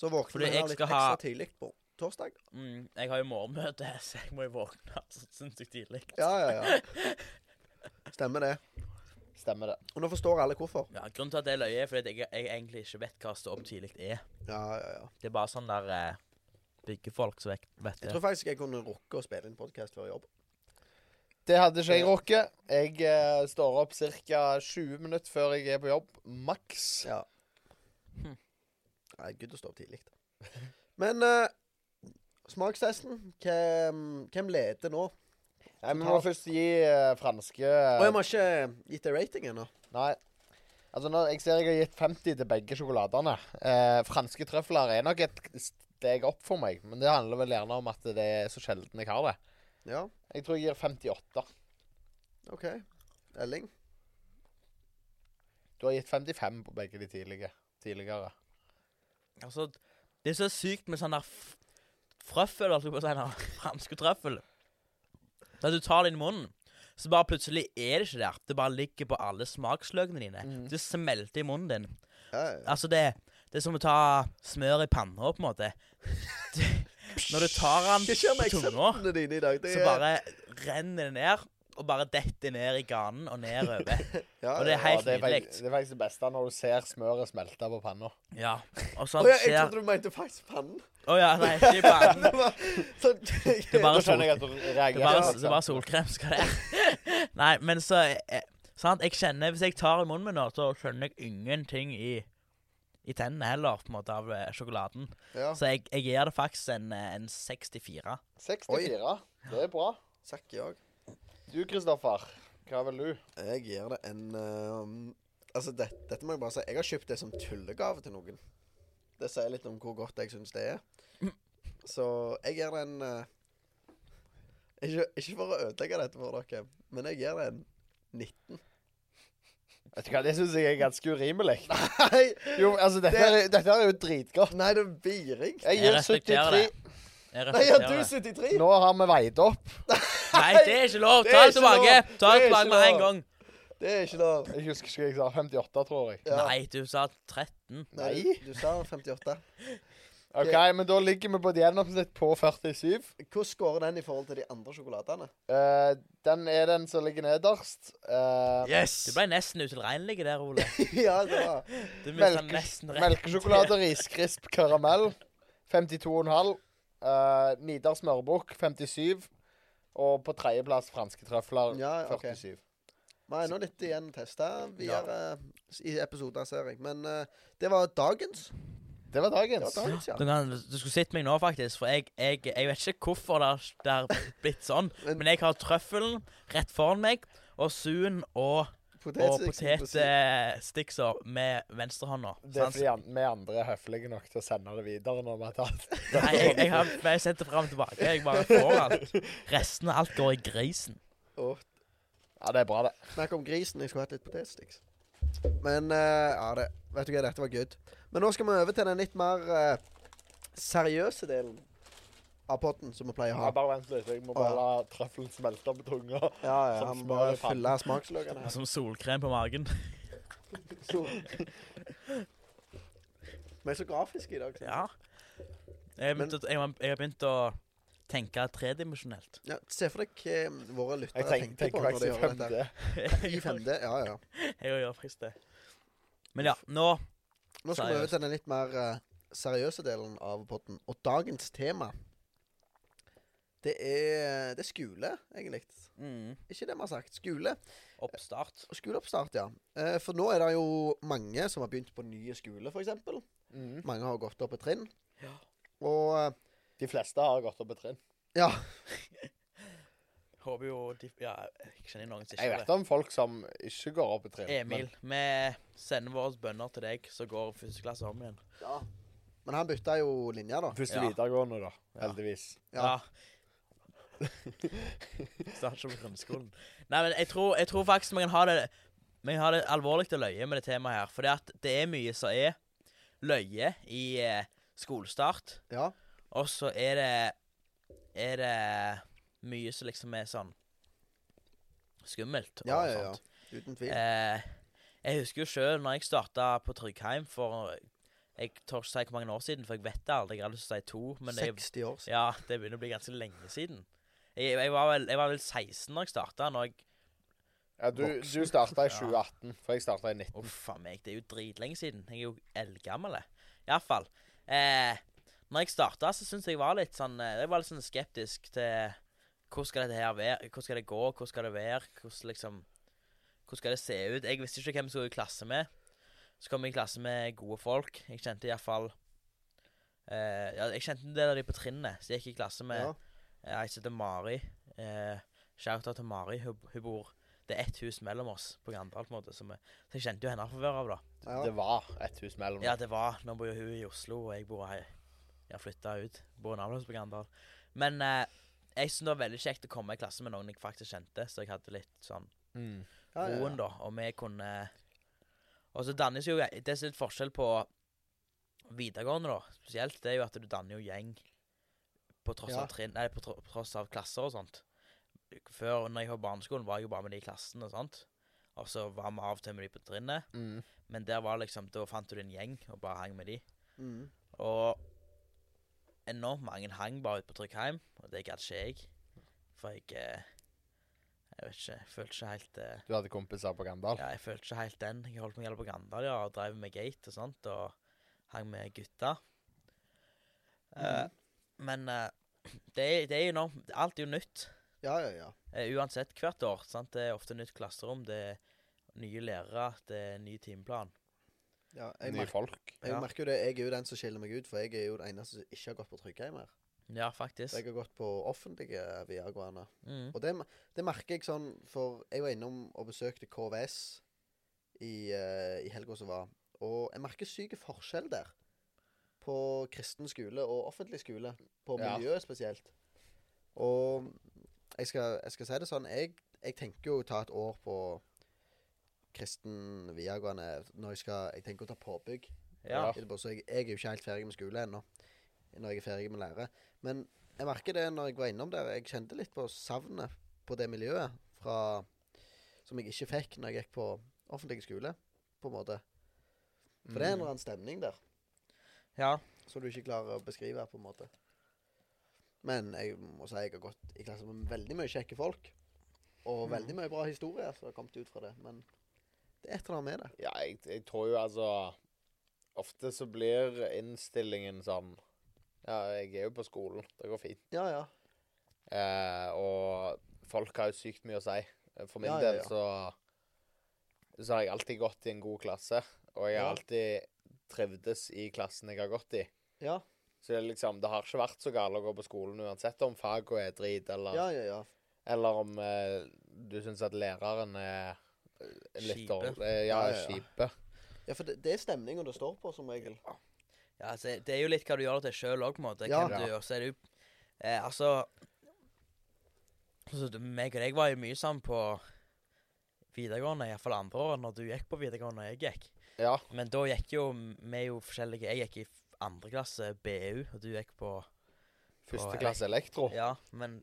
Så
Fordi
våkner vi
jeg
her litt
skal
ekstra
ha-
tidlig på torsdag.
mm, jeg har jo morgenmøte, [laughs] så jeg må jo våkne så sinnssykt tidlig.
Ja, ja, ja. Stemmer det.
Stemmer det.
Og nå forstår alle hvorfor.
Ja, Grunnen til at det er løye, er fordi at jeg, jeg egentlig ikke vet hva stå opp tidlig er.
Ja, ja, ja.
Det er bare sånn der eh, byggefolk som vet, vet
Jeg
det.
tror faktisk jeg kunne rukke å spille inn podkast før jobb.
Det hadde ikke jeg rukket. Jeg eh, står opp ca. 20 minutter før jeg er på jobb. Maks.
Ja.
Hm.
Nei, good å stå opp tidlig. da. Men eh, smakstesten hvem, hvem leder nå?
Nei, men Vi må først gi eh, franske
Og jeg har ikke eh, gitt deg rating ennå.
Nei. Altså, nå, Jeg ser jeg har gitt 50 til begge sjokoladene. Eh, franske trøfler er nok et steg opp for meg, men det handler vel gjerne om at det er så sjelden jeg har det.
Ja,
Jeg tror jeg gir 58.
OK. Elling?
Du har gitt 55 på begge de tidlige, tidligere.
Altså, det er så sykt med sånn der f- frøffel, holdt jeg på å si, den der franske trøffel. Da du tar det inn i munnen, så bare plutselig er det ikke der. Det bare ligger på alle smaksløkene dine.
Mm.
Mhm.
Det smelter i munnen din.
Ja, ja.
Altså, det, det er som å ta smør i panna, på en måte. Det, når du tar den
Hva skjer med
på tunga,
eksempelene dine i dag? Det
så bare renner det ned, og bare detter ned i ganen og
[laughs]
nedover.
ja,
Og det er
ja.
helt
det, er
nydelig.
faktisk, det er faktisk det beste når du ser smøret smelte på panna.
Ja. Og
Å
sånn
ja, jeg
skjer
trodde du mente faktisk pannen.
Å ja, nei, ikke i
[laughs]
pannen.
Det var- sånn-
Det er bare
Da [laughs]
sol.
skjønner jeg at du reagerer.
Det er bare,
liksom.
det er bare solkrem skal det [laughs] Nei, men så eh, sant? Jeg kjenner, Hvis jeg tar i munnen min nå, så skjønner jeg ingenting i, i tennene heller, på en måte, av eh, sjokoladen.
Ja.
Så jeg, jeg gir det faktisk en, eh, en 64.
64. Det er bra.
Sakk i òg.
Du, Kristoffer. Hva vil du?
Jeg gir det en eh, Altså, det, dette må jeg bare si. Jeg har kjøpt det som tullegave til noen. Det sier litt om hvor godt jeg syns det er. Så jeg gir det en eh, ikke, ikke for å ødelegge dette for dere, men jeg gir det en [laughs] 19.
Vet du hva, Det syns jeg er ganske urimelig.
Nei,
Jo, altså, dette,
Det-
er, dette er jo dritgodt.
nei det er biring.
Jeg
Jeg
gir
respekterer
73.
Jeg
Nei, ja, du
respekterer
73?
det.
Nå har vi veid opp.
Nei, det er ikke lov!
Det er
Ta det
ikke
tilbake!
lov.
Ta
Det
det
er
tilbake
ikke
med en
lov.
gang.
Det er ikke lov.
Jeg husker ikke hva jeg sa. 58, tror jeg.
Ja.
Nei, du sa 13.
Nei.
Du, du sa 58.
OK, men da ligger vi på et gjennomsnitt på 47.
Hvordan scorer den i forhold til de andre sjokoladene?
Eh, den er den som ligger nederst. Eh,
Yes!
Du ble nesten utilregnelig der, Ole.
ja, det var
Du mista
sånn
Melke-
nesten rett.
Melkesjokolade, riskrisp, karamell. 52,5. eh, Nidar smørbukk 57. Og på tredjeplass franske trøfler
Ja, ja, ok.
47.
Vi har ennå litt igjen å teste videre eh, i episoder, ser jeg. Men eh, det var dagens.
Det var
Det var
dagens.
dagens, ja.
Du, kan, du skulle sett meg nå, faktisk. For jeg, jeg, jeg vet ikke hvorfor det har- det har blitt sånn.
[laughs] Men-
Men jeg har trøffelen rett foran meg, og suen og, og
Potetsticks, si.
potetstikser med venstrehånda.
Det er
sant?
fordi an vi andre er høflige nok til å sende det videre når vi har tatt
[laughs]
Nei, jeg, jeg har bare sendt det fram og tilbake. Jeg bare får
[laughs]
alt. Resten av alt går i grisen.
Åh,
Ja, det er bra, det.
Snakk om grisen. Jeg skulle hatt litt potetsticks. Men eh, ja, det, vet du hva, dette var good. Men nå skal vi over til den litt mer eh, seriøse delen av potten som vi pleier å ha.
Ja, bare vent litt. Jeg må bare la trøffelen smelte på tunga.
Ja, ja,
Som
han må
smør i pannen.
fylle smaksløkene her.
Som solkrem på magen.
Vi er så grafiske i dag.
Ja. Jeg har
Men-
begynt, å- jeg har, jeg har begynt å tenke tredimensjonelt.
Ja, se for deg hva våre
Jeg
lyttere tenker,
tenker, tenker
på når de
faktisk
hører
fem
dette.
D.
I 5D, [laughs] ja, ja.
Jeg gjør faktisk det. Men ja, nå
Nå skal vi over
Seriøst.
til den litt mer eh, seriøse delen av potten. Og dagens tema, det er, det er skole, egentlig.
mm,
Ikke det vi har sagt. Skole.
Oppstart.
Og Skoleoppstart, ja. Eh, For nå er det jo mange som har begynt på nye skole, f.eks.
Mm.
Mange har gått opp et trinn.
Ja.
Og eh,
De fleste har gått opp et trinn.
ja,
Håper jo de Ja, jeg kjenner noen som
Jeg
ikke
vet om folk som ikke går opp et trinn.
Emil, vi sender våre bønner til deg, så går første klasse om igjen.
ja. Men han bytta jo linje, da.
men Først i
Ja.
videregående, da. Heldigvis.
Ja. [laughs]
Starter ikke på grunnskolen. Nei, men jeg tror, jeg tror faktisk vi kan ha det Vi kan ha det alvorlig til løye med det temaet her. Fordi at det er mye som er løye i eh, skolestart.
Ja.
Og så er det Er det mye som liksom er sånn skummelt. og
Ja, ja, ja.
sånt.
Uten tvil.
Eh, jeg husker jo sjøl når jeg starta på Tryggheim for Jeg tør ikke si hvor mange år siden, for jeg vet det aldri. Jeg hadde lyst til å si to. Men det,
60 år siden.
ja, det begynner å bli ganske lenge siden. Jeg, jeg, var, vel, jeg var vel 16 da jeg starta. Når jeg
Ja, du du starta i 2018, for jeg starta i 19.
Uff a meg, det er jo dritlenge siden. Jeg er jo eldgammel. Iallfall. Eh, når jeg starta, så syns jeg var litt sånn eh, Jeg var litt sånn skeptisk til hvordan skal dette her være, hvordan skal det gå, hvordan skal det være, hvordan liksom Hvordan skal det se ut? Jeg visste ikke hvem jeg skulle i klasse med. Så kom jeg i klasse med gode folk. Jeg kjente iallfall eh, ja, Jeg kjente en del av de på trinnet, så jeg gikk i klasse med
Ja.
Eh, Jeg heter Mari. Eh, Shout-out til Mari. Hun, hun bor Det er ett hus mellom oss på Gandal, på en måte. Som er, så jeg kjente jo henne fra før av, da.
Ja.
Det var et hus mellom.
Ja, det var Nå bor jo hun i Oslo, og jeg bor her. Jeg har flytta ut. Bor navnløs på Gandal. Men eh, jeg syntes det var veldig kjekt å komme i klasse med noen jeg faktisk kjente, så jeg hadde litt sånn
Mm.
Ja, ja, ja.
roen, da. Og vi kunne Og så dannes jo Det er så litt forskjell på videregående, da, spesielt. Det er jo at du danner jo gjeng på tross
Ja.
av trinn Nei, på, tro, på tross av klasser og sånt. Før, når jeg var på barneskolen, var jeg jo bare med de i klassen og sånt. Og så var vi av og til med de på trinnet,
Mm.
men der var liksom Da fant du din gjeng og bare hang med de.
Mm.
Og enormt mange hang bare ute på Tryggheim, og det gadd ikke jeg. For jeg eh, Jeg vet ikke. Jeg følte ikke helt eh,
Du hadde kompiser på Gandal?
ja, jeg følte ikke helt den. Jeg holdt meg heller på Gandal ja, og drev med gate og sånt, og hang med gutta.
Mm.
Eh, men eh, [clears throat] det, er- det er jo nå Alt er jo nytt.
ja, ja, ja.
eh, uansett hvert år. sant? Det er ofte nytt klasserom, det er nye lærere, det er ny timeplan.
ja. Jeg,
Nye
merker,
folk?
jeg
Ja.
merker jo det. Jeg er jo den som skiller meg ut, for jeg er jo den eneste som ikke har gått på Tryggheim her.
Ja, faktisk.
Jeg har gått på offentlige videregående.
Mm.
Og det, det merker jeg sånn, for jeg var innom og besøkte KVS i, eh, i helga som var, og jeg merker syke forskjell der. På kristen skole og offentlig skole. På
Ja.
miljøet spesielt. Og jeg skal, jeg skal si det sånn, jeg, jeg tenker jo å ta et år på kristen videregående når jeg skal Jeg tenker å ta påbygg.
Ja.
Etterpå, så jeg, jeg er jo ikke helt ferdig med skole ennå. Når jeg er ferdig med lære. Men jeg merker det når jeg var innom der. Jeg kjente litt på savnet på det miljøet fra, som jeg ikke fikk når jeg gikk på offentlig skole. På en måte. For det er en eller annen stemning der
ja.
som du ikke klarer å beskrive. på en måte. Men jeg må si jeg har gått i klasse med veldig mye kjekke folk. Og veldig mye bra historier som har kommet ut fra det. Men det er et eller annet med det.
Ja, jeg, jeg tror jo altså Ofte så blir innstillingen sånn Ja, jeg er jo på skolen. Det går fint.
Ja, ja.
Eh, og folk har jo sykt mye å si. Eh, For min
Ja, ja,
del
ja.
så Så har jeg alltid gått i en god klasse. Og jeg har
Ja.
alltid trivdes i klassen jeg har gått i.
Ja,
Så det, er liksom, det har ikke vært så galt å gå på skolen uansett om fag og er drit, eller,
ja, ja. ja.
eller om eh, du syns at læreren er eh, litt
Kjipe.
dårlig. Ja,
Ja, ja,
ja,
ja.
kjipe.
ja for det, det er stemninga det står på, som regel.
Ja, altså, det er jo litt hva du gjør det til sjøl òg, på en måte.
Ja.
Hvem du gjør. Så er det jo eh, Altså så du, Meg og deg var jo mye sammen på videregående, iallfall andre året, når du gikk på videregående og jeg gikk.
Ja.
Men da gikk jo vi jo forskjellige Jeg gikk i f- andre klasse BU, og du gikk på
Første
Og-
klasse elektro.
Ja, men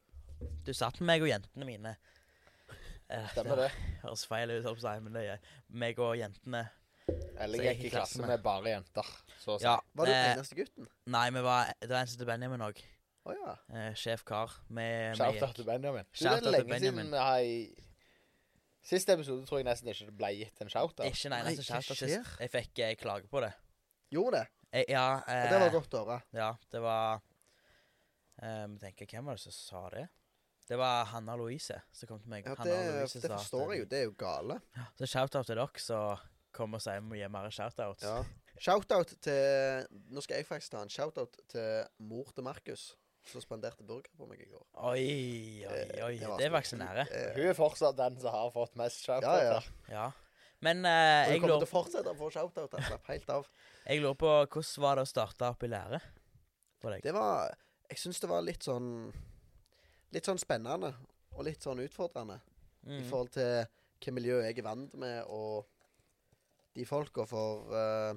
du satt med meg og jentene mine. Eh,
Stemmer det.
høres feil ut, holdt på å si, men det er meg og jentene. Så
Eller jeg gikk i klasse med bare jenter. Så å si.
Ja,
Var du den
eh,
eneste gutten?
Nei, vi var Det var en som het Benjamin òg.
Å ja.
Eh, sjef kar. Vi- vi
Shout-out
gikk-
til Benjamin. Du,
Shout-out
det
til
er lenge
Benjamin.
siden vi har i Siste episode tror jeg nesten ikke det ble gitt en shout-out.
Ikke en
Nei,
eneste
hva
shout-out sist.
skjer?
Jeg fikk eh, klage på det.
Gjorde det?
Jeg, ja,
Og
eh,
det var godt å høre.
ja, det var eh, må tenke, Hvem var det som sa det? Det var Hanna Louise som kom til meg.
Ja,
Hanna
det, det
Louise sa at- eh,
forstår jeg jo. Det er jo gale.
Så shout-out til dere som kommer og sier vi må gi mer shout-outs.
Ja. Shoutout til Nå skal jeg faktisk ta en shoutout til mor til Markus, som spanderte burger på meg i går.
Oi, oi,
Eh,
oi.
var
Det er faktisk en ære.
Eh,
Hun er fortsatt den som har fått mest
Ja, ja.
shout-out.
Ja. Men eh,
Hun
jeg,
kommer til å
lurer,
fortsette å få shoutout. Jeg slapp helt
[laughs]
av.
jeg lurer på hvordan var det å starte opp i lære for deg?
Det var Jeg syns det var litt sånn Litt sånn spennende og litt sånn utfordrende i
Mm.
forhold til hvilket miljø jeg er vant med, og de folka for eh,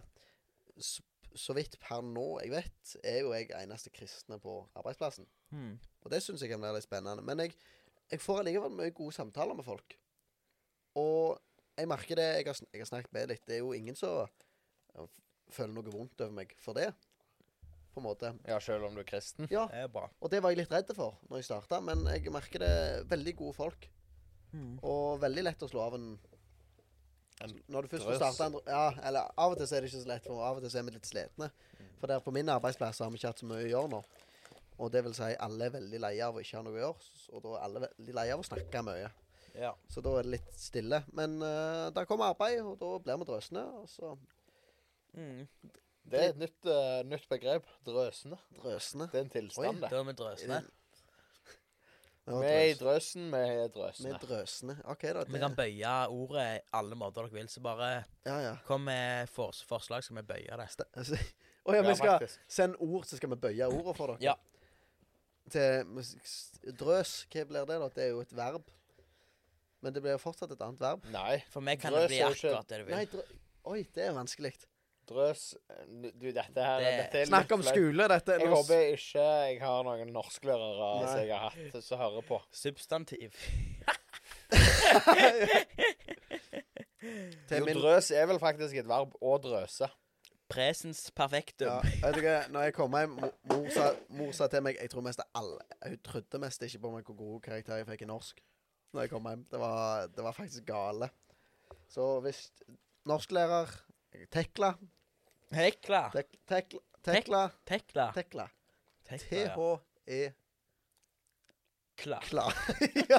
s- Så vidt per nå jeg vet, er jo jeg eneste kristne på arbeidsplassen.
Mm.
Og det syns jeg kan være litt spennende. Men jeg, jeg får allikevel mye gode samtaler med folk. Og jeg merker det jeg har, sn- jeg har snakket med litt. Det er jo ingen som ja, f- føler noe vondt over meg for det, på en måte.
Ja, selv om du er kristen.
Ja,
Det er bra.
og det var jeg litt redd for når jeg starta, men jeg merker det er veldig gode folk.
Mm.
Og veldig lett å slå av en
En
Når du først får
drøs.
starta en Ja, eller av og til så er det ikke så lett, for av og til så er vi litt slitne. For der på min arbeidsplass har vi ikke hatt så mye å gjøre nå. Og det vil si, alle er veldig lei av å ikke ha noe å gjøre, s- og da er alle veldig lei av å snakke mye.
Ja.
Så da er det litt stille. Men uh, der kommer arbeid, og da blir vi drøsende. Og så
Mm.
Det er et nytt, eh, nytt begrep. Drøsende.
drøsende.
Det er en tilstand,
Da
det.
er vi drøsende.
Vi
Vi er i drøsen, vi er drøsende.
er drøsende. OK, da.
Vi kan
Det,
bøye ordet alle måter dere vil, så bare
ja, ja.
kom med fors forslag, så skal vi bøye det.
Ste- altså, Å ja, vi skal
faktisk.
sende ord, så skal vi bøye ordene for dere.
Ja.
Til mus- s- drøs. Hva blir det, da? Det er jo et verb. Men det blir jo fortsatt et annet verb.
Nei.
For meg kan
Drøs
det bli
er jo ikke-
akkurat det du vil.
Nei, drø... Oi, det er vanskelig.
Drøs Du, dette her
Det-
dette er
Snakk om
litt flaut.
skole, dette.
Jeg
Nå s-
håper ikke jeg har noen norsklærere som
Nei.
jeg har hatt, som hører på.
Substantiv.
til
Jo,
min-
drøs er vel faktisk et verb å drøse.
Presens
Ja,
perfektum.
vet du hva, når jeg kom hjem, mo- mor sa, mor sa til meg Jeg tror mest alle Hun trodde mest ikke på meg hvor gode karakterer jeg fikk i norsk. Når jeg kom hjem Det var, det var faktisk gale. Så hvis norsklærer Tekla
Hekla.
tek, Tekla Tekla Tekla
Tekla. Tekla.
T-h-e-kla.
Kla.
[laughs] ja,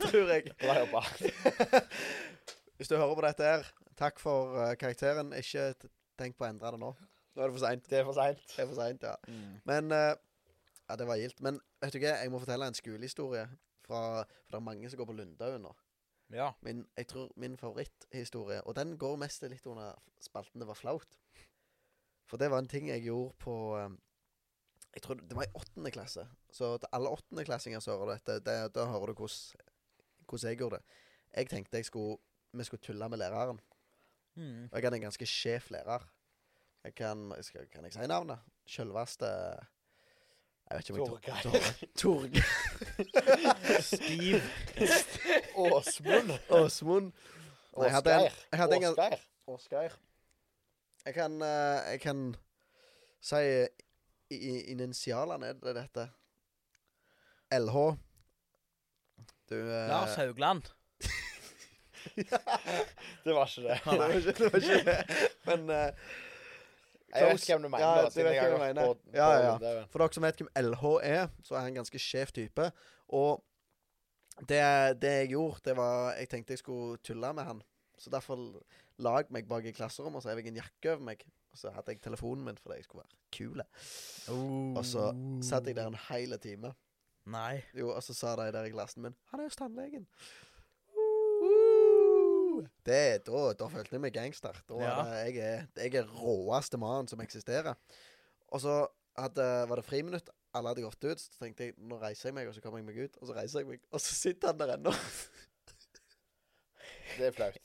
tror jeg.
Bra jobba.
Hvis du hører på dette her, takk for eh, karakteren. Ikke t- tenk på å endre det nå. Nå er det for seint.
Det er for seint.
Det er for seint, ja. Men eh, Ja, det var gildt. Men vet du hva, jeg må fortelle en skolehistorie. Fra, for det er mange som går på Lundhaug nå.
Ja.
Min, jeg tror min favoritthistorie, og den går mest litt under spalten det var flaut. For det var en ting jeg gjorde på eh, Jeg tror det var i åttende klasse. Så til alle åttendeklassinger som hører dette, det, da hører du hvordan, hvordan jeg gjorde det. Jeg tenkte jeg skulle, vi skulle tulle med læreren.
Mm.
Og jeg hadde en ganske sjef lærer. Jeg kan, skal, kan jeg si navnet? Selveste Jeg vet ikke om jeg
Torgeir.
Torgeir. Torgeir
Stiv.
Åsmund.
Åsmund. Nei, jeg hadde en-
Åsgeir.
jeg hadde en-
Åsgeir.
Åsgeir. Jeg kan eh, Jeg kan si i- i- initialene er det dette. LH. Du eh,
Lars
[laughs]
Haugland.
Det var ikke det.
Det var ikke det. Var ikke det. Men eh,
Jeg vet hvem du mener.
Ja,
da,
du
siden
vet
jeg har
hvem jeg
gått
mener.
på-
Ja,
på
ja, ja.
det, vet du.
For dere som vet hvem LH er, så er han en ganske skjev type. Og det, det jeg gjorde, det var Jeg tenkte jeg skulle tulle med han. Så derfor la jeg meg bak i klasserommet, og så hadde jeg en jakke over meg. Og så hadde jeg telefonen min fordi jeg skulle være kul. Og så Satt jeg der en hel time.
Uh. Nei. [laughs]
Jo, og så sa de der i klassen min Han er hos tannlegen.
Uh.
Det, da, da følte jeg meg gangster. Da var
Ja.
det- jeg, er, jeg er råeste mannen som eksisterer. Og så hadde, var det friminutt. Alle hadde gått ut. Så tenkte jeg nå reiser jeg meg, og så kommer jeg meg ut. Og så reiser jeg meg, og så sitter han der ennå. [laughs]
Det er flaut.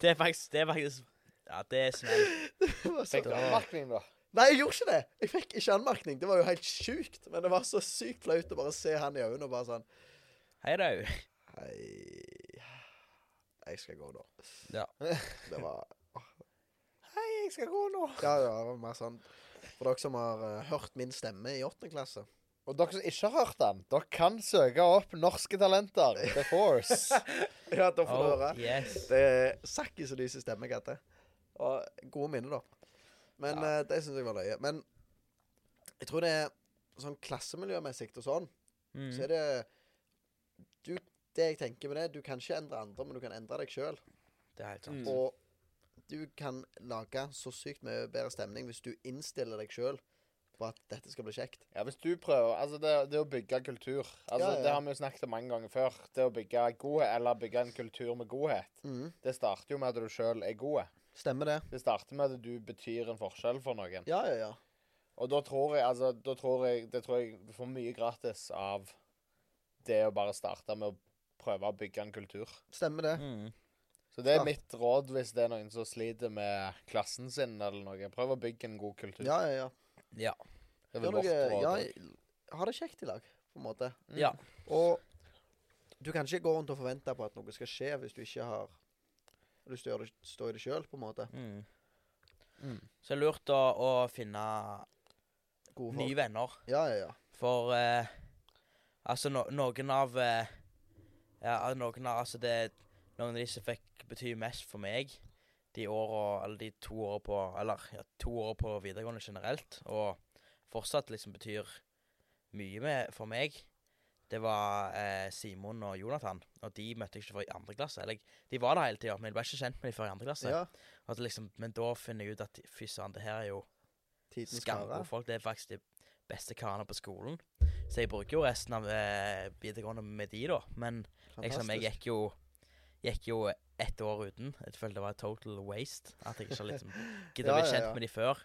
Det er faktisk Det er faktisk Ja, det er smell.
Det var så-
Fikk du anmerkning, da?
Nei, jeg gjorde ikke det! Jeg fikk ikke anmerkning. Det var jo helt sjukt. Men det var så sykt flaut å bare se han i øynene og bare sånn
Hei, du.
Hei, jeg skal gå nå.
Ja.
Det var
Hei, jeg skal gå nå.
Ja, ja, det var mer sånn For dere som har eh, hørt min stemme i åttende klasse
Og dere som ikke har hørt den, dere kan søke opp Norske Talenter, The Force.
Ja, da får du
Oh,
høre.
yes.
Det er sakki så lyse stemme jeg hadde. Og gode minner, da. Men
Ja.
eh, det syns jeg var løye. Men jeg tror det er sånn klassemiljømessig og sånn,
Mm.
så er det du, Det jeg tenker med det, du kan ikke endre andre, men du kan endre deg sjøl.
Det er helt sant.
Mm.
Og du kan lage så sykt mye bedre stemning hvis du innstiller deg sjøl på at dette skal bli kjekt.
Ja, hvis du prøver Altså, det, det å bygge kultur Altså,
Ja, ja.
Det har vi jo snakket om mange ganger før. Det å bygge godhet, eller bygge en kultur med godhet,
Mhm.
det starter jo med at du sjøl er god.
Stemmer det?
Det starter med at du betyr en forskjell for noen.
Ja, ja, ja.
Og da tror jeg altså, da tror jeg, Det tror jeg du får mye gratis av det å bare starte med å prøve å bygge en kultur.
Stemmer det.
Mm.
Så det er
Ja.
mitt råd hvis det er noen som sliter med klassen sin eller noe. Prøv å bygge en god kultur.
Ja, ja, ja.
Ja.
Det er
Gjør
vel vårt
noe,
råd.
ja,
også.
ha det kjekt i lag, på en måte.
Mm.
ja.
Og du kan ikke gå rundt og forvente på at noe skal skje hvis du ikke har lyst til å gjøre det, stå i det sjøl, på en måte.
Mm.
Mm.
Hmm. Så det er lurt å, å finne
Gode
nye
folk.
venner.
Ja, ja, ja.
For eh, altså no, noen av eh, Ja, altså, noen av Altså det Noen av de som fikk bety mest for meg de åra Eller de to åra på Eller ja, to åra på videregående generelt, og fortsatt liksom betyr mye med, for meg, det var eh, Simon og Jonathan. Og de møtte jeg ikke før i andre klasse. Eller jeg- de var der hele tida, men jeg ble ikke kjent med dem før i andre klasse.
ja.
At liksom, men da finner jeg ut at fy søren, det her er jo
Tidens
skamgode
kare.
folk. Det er faktisk de beste karene på skolen. Så jeg bruker jo resten av eh, videregående med de, da. Men liksom, jeg
Fantastisk.
gikk jo, gikk jo ett år uten. Jeg følte det var total waste. At jeg ikke
[laughs]
liksom giddet å
Ja,
bli
ja,
kjent
ja.
med de før.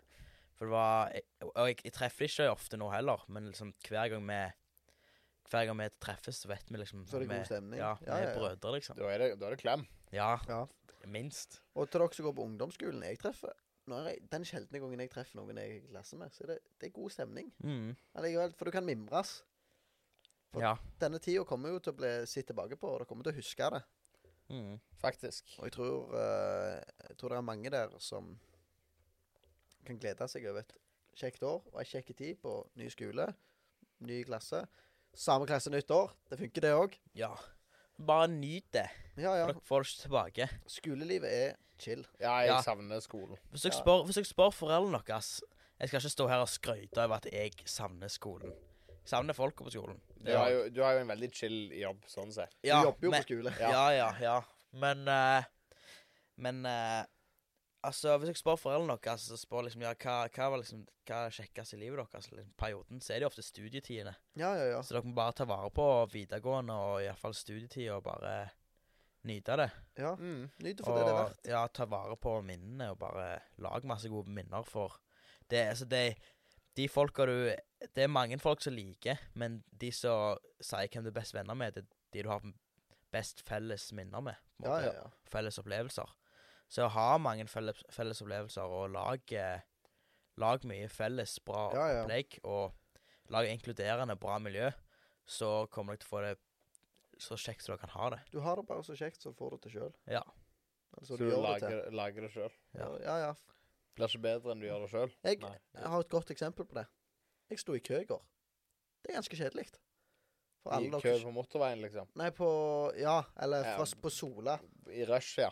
For det var jeg- Og jeg, jeg treffer de ikke ofte nå heller, men liksom hver gang vi Hver gang vi treffes, så vet vi liksom
Så er det
vi-
god stemning.
Ja, vi
Ja, ja,
er
ja.
brødre, liksom.
Da er det, da er det klem.
Ja,
Ja.
minst.
Og til dere som går på ungdomsskolen jeg treffer nå er jeg, Den sjeldne gangen jeg treffer noen jeg er i klasse med, så er det, det er god stemning.
Mm.
Allikevel, for du kan mimres. For-
Ja.
Denne tida kommer jo til å bli sett tilbake på, og dere kommer til å huske det.
Mm.
Faktisk.
Og jeg tror, eh, jeg tror det er mange der som kan glede seg over et kjekt år og ei kjekk tid på ny skole, ny klasse. Samme klasse nytt år. Det funker, det òg.
ja. Bare nyt det.
Ja, ja.
Dere får det ikke tilbake.
Skolelivet er chill.
Ja, jeg
Ja.
savner skolen.
Hvis dere
Ja.
spør, hvis dere spør foreldrene deres Jeg skal ikke stå her og skryte av at jeg savner skolen. Jeg savner folka på skolen.
Du har, jo, du har jo en veldig chill jobb, sånn sett.
Du
ja,
jobber jo
men,
på skole.
ja.
Ja, ja, ja. Men eh, Men eh, Altså, hvis dere spør foreldrene deres og spør liksom, ja, hva, hva var liksom, hva er det kjekkeste i livet deres, liksom, perioden, så er det ofte studietidene.
Ja, ja, ja.
Så dere må bare ta vare på videregående og iallfall studietida og bare nyte det.
ja.
Mm.
Nyt det for det det er verdt.
Ja, ta vare på minnene og bare lag masse gode minner for det, altså det, De folka du Det er mange folk som liker, men de som sier hvem du er best venner med, det er de du har best felles minner med. på en
Ja,
måte.
ja, ja.
Felles opplevelser. Så ha mange felles, felles opplevelser, og lag, eh, lag mye felles bra
Ja, ja.
opplegg, og lag inkluderende bra miljø, så kommer dere til å få det så kjekt som dere kan ha det.
Du har det bare så kjekt, så du får det til sjøl.
Ja.
Altså,
Så
du
du
gjør det til.
lager, lager det sjøl.
Ja, ja. ja.
Blir ikke bedre enn du gjør det sjøl.
Jeg, jeg har et godt eksempel på det. Jeg sto i kø i går. Det er ganske kjedelig. For
I
alle
kø
dere
på motorveien, liksom.
Nei, på Ja, eller
Ja.
fra, på Sola.
I rush, ja.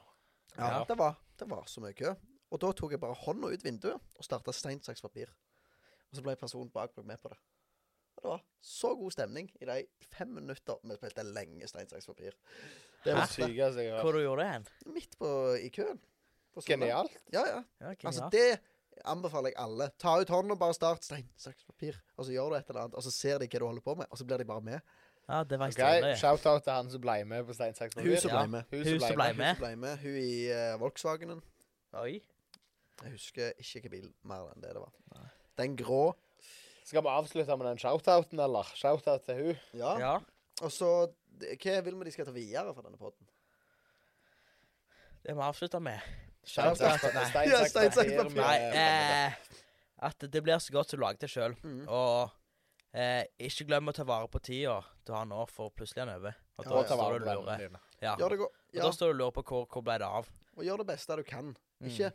Ja,
Ja.
Det, var, det var så mye kø. Og da tok jeg bare hånda ut vinduet og starta stein, saks, papir. Og så ble personen bak meg med på det. Og det var så god stemning i de fem minutter vi spilte lenge stein, saks, papir. Det
Det
var
er sykeste jeg har hørt.
Hvor du gjorde det hen?
midt på, i køen. På skolen.
Genialt.
Ja, ja.
Ja, genialt.
Altså, det anbefaler jeg alle. Ta ut hånda og bare start stein, saks, papir. Og så gjør du et eller annet, og så ser de hva du holder på med, og så blir de bare med.
ja, det var
Ok,
faktisk okay,
Shout-out til han som ble med på Stein saks
Hun som
papir.
Ja.
ble med.
Hun
Hun som ble
Hun som
med.
ble med. Hun i eh, Volkswagenen.
Oi.
Jeg husker ikke hvilken bil mer enn det det var. Den grå.
Skal vi avslutte med den shout-outen, eller? Shout-out til hun.
Ja.
Ja.
Og så Hva vil vi de skal ta videre fra denne podden?
Det må vi avslutte med.
Shout-out
Shout-out.
til
Nei.
Stein
Ja,
saks
Stein, saks,
papir
papir.
med-
Nei, eh, at det blir så godt som du lager det sjøl.
Mhm.
Og eh, ikke glem å ta vare på tida du har nå, for plutselig er den over. Og
Ja,
da
ja.
Og ta
står
vare
du
på
og
vennene
lurer.
dine.
Ja.
Gjør det, go
Og
ja.
da står du og lurer på hvor, hvor ble det av.
og gjør det beste du kan.
Mm.
Ikke,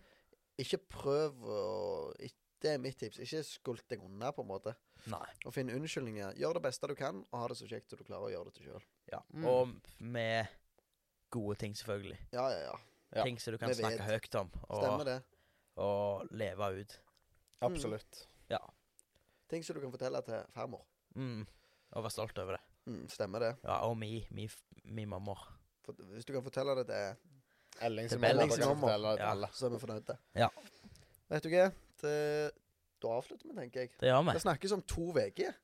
ikke prøv å ik- Det er mitt tips. Ikke skult deg unna, på en måte.
Nei.
Og finn unnskyldninger. Gjør det beste du kan, og ha det så kjekt som du klarer å gjøre det til sjøl.
Ja.
Mm.
Og med gode ting, selvfølgelig.
Ja, ja, ja.
Ja.
Ting som du kan
Vi vet.
snakke høyt om,
Stemmer
og,
det.
og leve ut.
Mm.
Absolutt.
Ting som du kan fortelle til farmor.
Mm. Og være stolt over det.
Mm, stemmer det.
Ja, og mi, mi, f- mi mamma.
For, hvis du kan fortelle det til
Elling som
Til
mamma
Elling som
kan
mamma.
fortelle det til
Ja.
alle.
så er vi fornøyde.
Ja.
Vet du hva? Det- Da avslutter vi, tenker jeg.
Det gjør vi.
Det snakkes om to uker.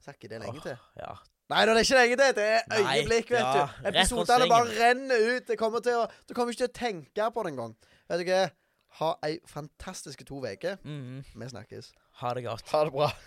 Sa ikke det lenge
Åh,
til.
Ja.
Nei, da, det er ikke lenge til. Det er
Nei,
øyeblikk, vet
ja,
du.
rett rundt
Episodene bare
svingen.
renner ut. Det kommer til å, du kommer ikke til å tenke på det engang. Vet du hva? Ha ei fantastisk to uker.
Mhm.
Vi snakkes.
Ha det godt.
Ha det bra.